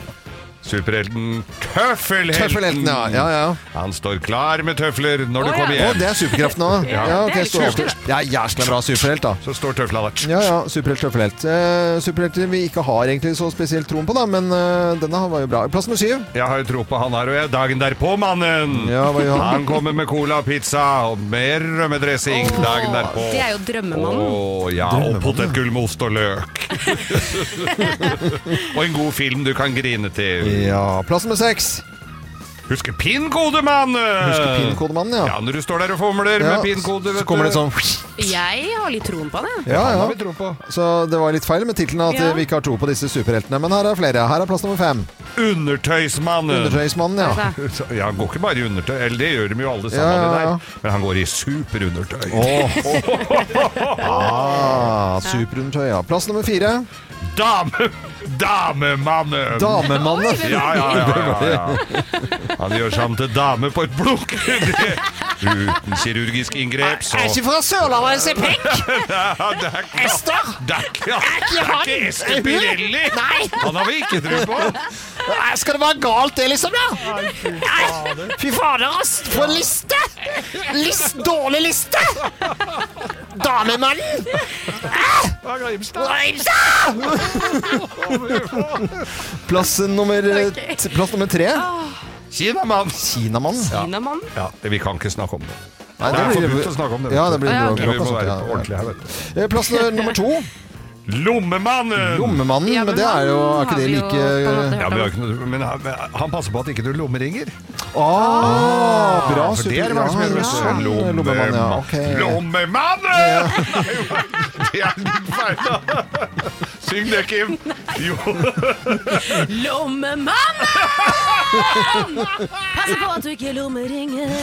S2: Superhelten Tøffelhelten.
S1: Tøffelhelten, ja. Ja, ja.
S2: Han står klar med tøfler når
S1: Å,
S2: du
S1: ja.
S2: kommer hjem.
S1: Å, det er superkraften nå.
S2: Ja.
S1: Ja, ok,
S2: Det er litt
S1: står opp.
S2: kult,
S1: Det er jæskla bra superhelt, da.
S2: Så står tøfla der.
S1: Ja, ja. Superhelt, tøffelhelt. Eh, superhelter vi ikke har egentlig så spesielt troen på, da, men eh, denne var jo bra. Plass nummer syv.
S2: Jeg har jo tro på han her og jeg. Dagen derpå, mannen!
S1: hva gjør han?
S2: han kommer med cola og pizza og mer rømmedressing dagen derpå.
S4: det er jo drømmemannen.
S2: Å, ja, og potetgull med ost og løk. og en god film du kan grine til.
S1: Ja, plass nummer seks.
S2: Husker pinnkodemannen!
S1: Husker pinnkodemannen, ja.
S2: Ja, Når du står der og fomler
S1: Ja,
S2: med pinnkoder,
S1: så kommer det sånn
S4: Jeg har litt troen på han, jeg.
S1: Ja, ja. Så det var litt feil med tittelen at
S4: Ja.
S1: vi ikke har tro på disse superheltene. Men her er flere. Her er plass nummer fem.
S2: Undertøysmannen.
S1: Undertøysmannen, ja.
S2: ja. Han går ikke bare i undertøy, eller det gjør de jo alle sammen,
S1: Ja, ja,
S2: det
S1: ja.
S2: der. Men han går i superundertøy.
S1: Ah, superundertøy, ja. Plass nummer fire.
S2: Dame, damemannen!
S1: Damemannen. Oi, hvem er det?
S2: Ja, ja, ja, ja, ja. Han gjør seg om til dame på et blunk. Uten kirurgisk inngrep, så
S10: fra Sørlandet, se pekk!
S2: Ester! Det er ikke, det er ikke Ester Pirelli! Han har vi ikke tro på.
S10: Skal det være galt, det, liksom? da? Nei, Fy fader, ass! For en liste! List, dårlig liste! Damemannen!
S2: Fra
S10: Grimstad!
S1: Plass nummer,
S10: Ok. Ah.
S1: t- plass nummer tre.
S2: Kinamann.
S1: Kinamann.
S2: Kinamann? Ja, vi kan ikke snakke om det.
S1: Nei,
S2: det,
S1: det blir-
S2: er forbudt å snakke om det.
S1: Ja, det blir
S2: Men
S1: bråk,
S2: Vi må
S1: bråk,
S2: være
S1: ja, ja.
S2: ordentlige her, vet du.
S1: Eh, Plass nummer to.
S2: Lommemannen!
S1: Lommemannen, men det er jo er ikke det like
S2: ja, men, jeg har ikke noe- men han, han passer på at ikke du lommeringer.
S1: Ah, bra
S2: for det er
S1: super-
S2: det mange som
S1: ja,
S2: heter. vet du.
S1: ja,
S2: Lommemann.
S1: lommemann, ja, ok.
S2: Lommemannen! Det er litt feil, da. Syng det, Kim. Jo.
S10: Lommemannen! Pass på at du ikke lommeringer.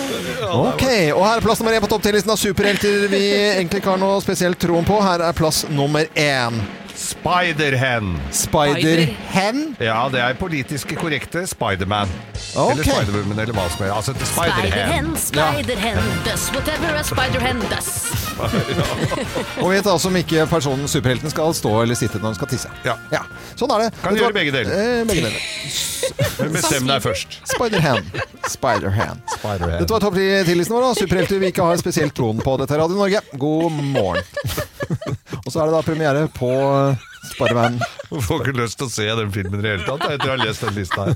S1: Ok, og her er plass nummer én på topp 10-listen av superhelter vi egentlig ikke har noe spesielt troen på. Her er plass nummer én.
S2: Spider-Hen.
S1: Spider-Hen?
S2: Ja, det er politisk korrekte Spiderman.
S1: Ok.
S2: Eller Spiderwoman, eller hva som helst. Altså til Spider-Hen.
S10: Spider-Hen, Spider-Hen does whatever a Spider-Hen does.
S1: Og vet altså om ikke personen superhelten skal stå eller sitte når han skal tisse.
S2: Ja.
S1: Sånn er det. Vet
S2: Kan
S1: du
S2: gjøre
S1: hva?
S2: begge deler.
S1: Eh, begge deler.
S2: Men bestem deg først.
S1: Spider-Hand. Spider-Hand. Dette var topp 10-listen vår. da. Superhelter vi ikke har spesielt troen på. Dette er Radio Norge. God morgen. Og så er det da premiere på eh, Spareveien.
S2: Jeg Får ikke lyst til å se den filmen i det hele tatt etter å ha lest den lista her.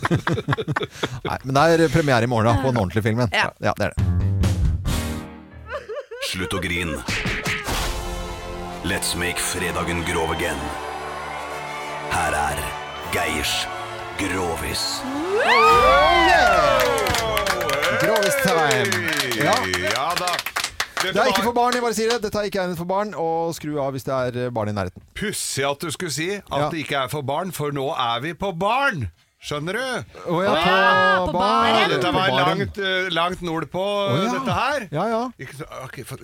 S1: Nei, men det er premiere i morgen da, på den ordentlige filmen.
S2: Ja.
S1: ja det er det.
S13: Slutt å grin. Let's make fredagen grov again. Her er Geirs Grovis.
S1: Grovis time. Ja.
S2: Ja da.
S1: Det er ikke for barn, jeg bare sier det. Dette er ikke egnet for barn, og skru av hvis det er eh, barn i nærheten.
S2: Pussig at du skulle si at
S1: Ja.
S2: det ikke er for barn, for nå er vi på barn! Skjønner du?
S1: Å ja, Å ja, på på baren. baren.
S2: Dette var
S1: På baren.
S2: langt, eh, langt nordpå,
S1: Å ja.
S2: dette her.
S1: Ja, ja.
S2: Ikke så- ok, for-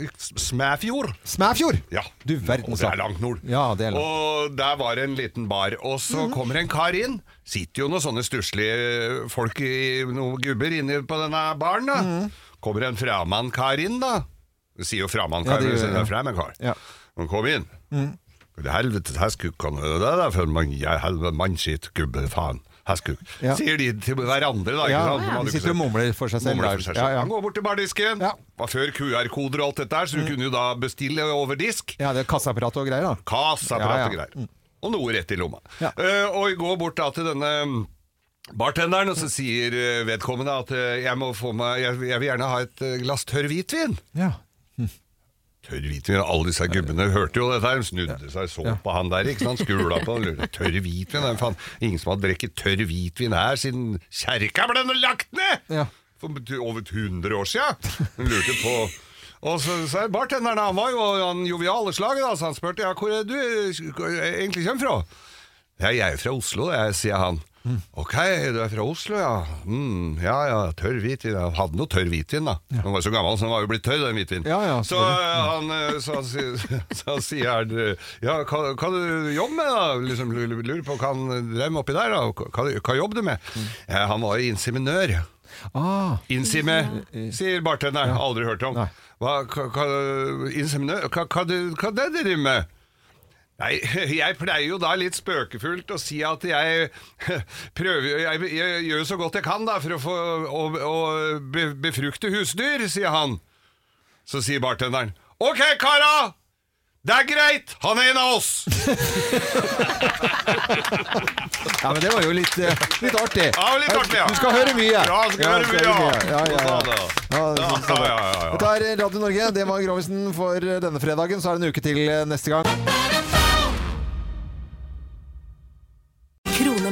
S2: Smæfjord.
S1: Smæfjord?
S2: Ja.
S1: Du verdens
S2: Det er langt nord.
S1: Ja, det er langt. Mhm.
S2: Og der var det en liten bar. Og så kommer en kar inn. Sitter jo noen sånne stusslige folk, i, noen gubber, inne på denne baren, da.
S1: Mhm.
S2: Kommer en framandkar inn, da. Det sier jo
S1: Ja,
S2: framandkar,
S1: det
S2: men
S1: gjør
S2: så
S1: det,
S2: det
S1: ja.
S2: er framandkar.
S1: Ja.
S2: Men kom inn.
S1: Mm.
S2: Helvete, her skulle kan det der for en mann, jeg helvete mannskitt, gubbe, faen. Haskuk. Sier de til hverandre, da.
S1: Ja,
S2: ikke sant?
S1: de sitter og mumler for seg selv
S2: Mumler
S1: der.
S2: for seg
S1: Ja,
S2: selv.
S1: ja.
S2: Han går bort til bardisken. Var før QR-koder og alt dette her, så
S1: Mhm.
S2: du kunne jo da bestille over disk.
S1: Ja, det er kassaapparat og greier, da. Ja,
S2: Kassaapparat
S1: Mm. ja.
S2: og greier. Og noe rett i lomma. Eh, og går bort da til denne mm, bartenderen, og så
S1: Mm.
S2: sier eh, vedkommende at eh, jeg, må få meg, jeg, jeg vil gjerne ha et eh, glass tørr hvitvin.
S1: Ja.
S2: Tørr hvitvin, alle disse gubbene hørte jo dette her, de snudde seg, så på han der, ikke sant, skula på han, lurte, tørr hvitvin, nei, faen, ingen som har drikket tørr hvitvin her siden kjerka ble lagt ned! For over 100 år siden, hun lurte på... Og så sa jeg, bartenderen, han var jo han joviale slaget da, så han spørte, ja, hvor er du egentlig kommer fra? Ja, jeg er fra Oslo, jeg, sier han. Ok, du er fra Oslo, ja. Mm, ja, ja, tørr hvitvin. Han hadde noe tørr hvitvin, da. Han var jo så gammel, så han var jo blitt tørr, den hvitvinen. så, eh, han, eh, så, han sier- så han sier han eh, Ja, hva, hva du jobber med, da? Liksom, lurer lurer på hva han drev med oppi der, da. Hva, hva jobber du med? Ja, han var inseminør. Innsime, sier bartenderen. Aldri hørt om. Hva, hva, hva, inseminør? Hva, hva, du- hva det driver du med? Nei, jeg pleier jo da litt spøkefullt å si at jeg prøver Jeg, jeg gjør jo så godt jeg kan da for å, få, å, å be, befrukte husdyr, sier han. Så sier bartenderen Ok, kara! Det er greit! Han er en av oss!
S1: Ja, men det var jo litt, eh, litt artig.
S2: Ja, litt artig, ja.
S1: Du skal høre mye.
S2: Ja, du skal høre mye, ja.
S1: Ja, ja, ja.
S2: Ja,
S1: det synes jeg
S2: ja,
S1: var.
S2: ja, ja, ja.
S1: Dette er Radio Norge. Det var Grovisen for eh, denne fredagen. Så er det en uke til eh, neste gang.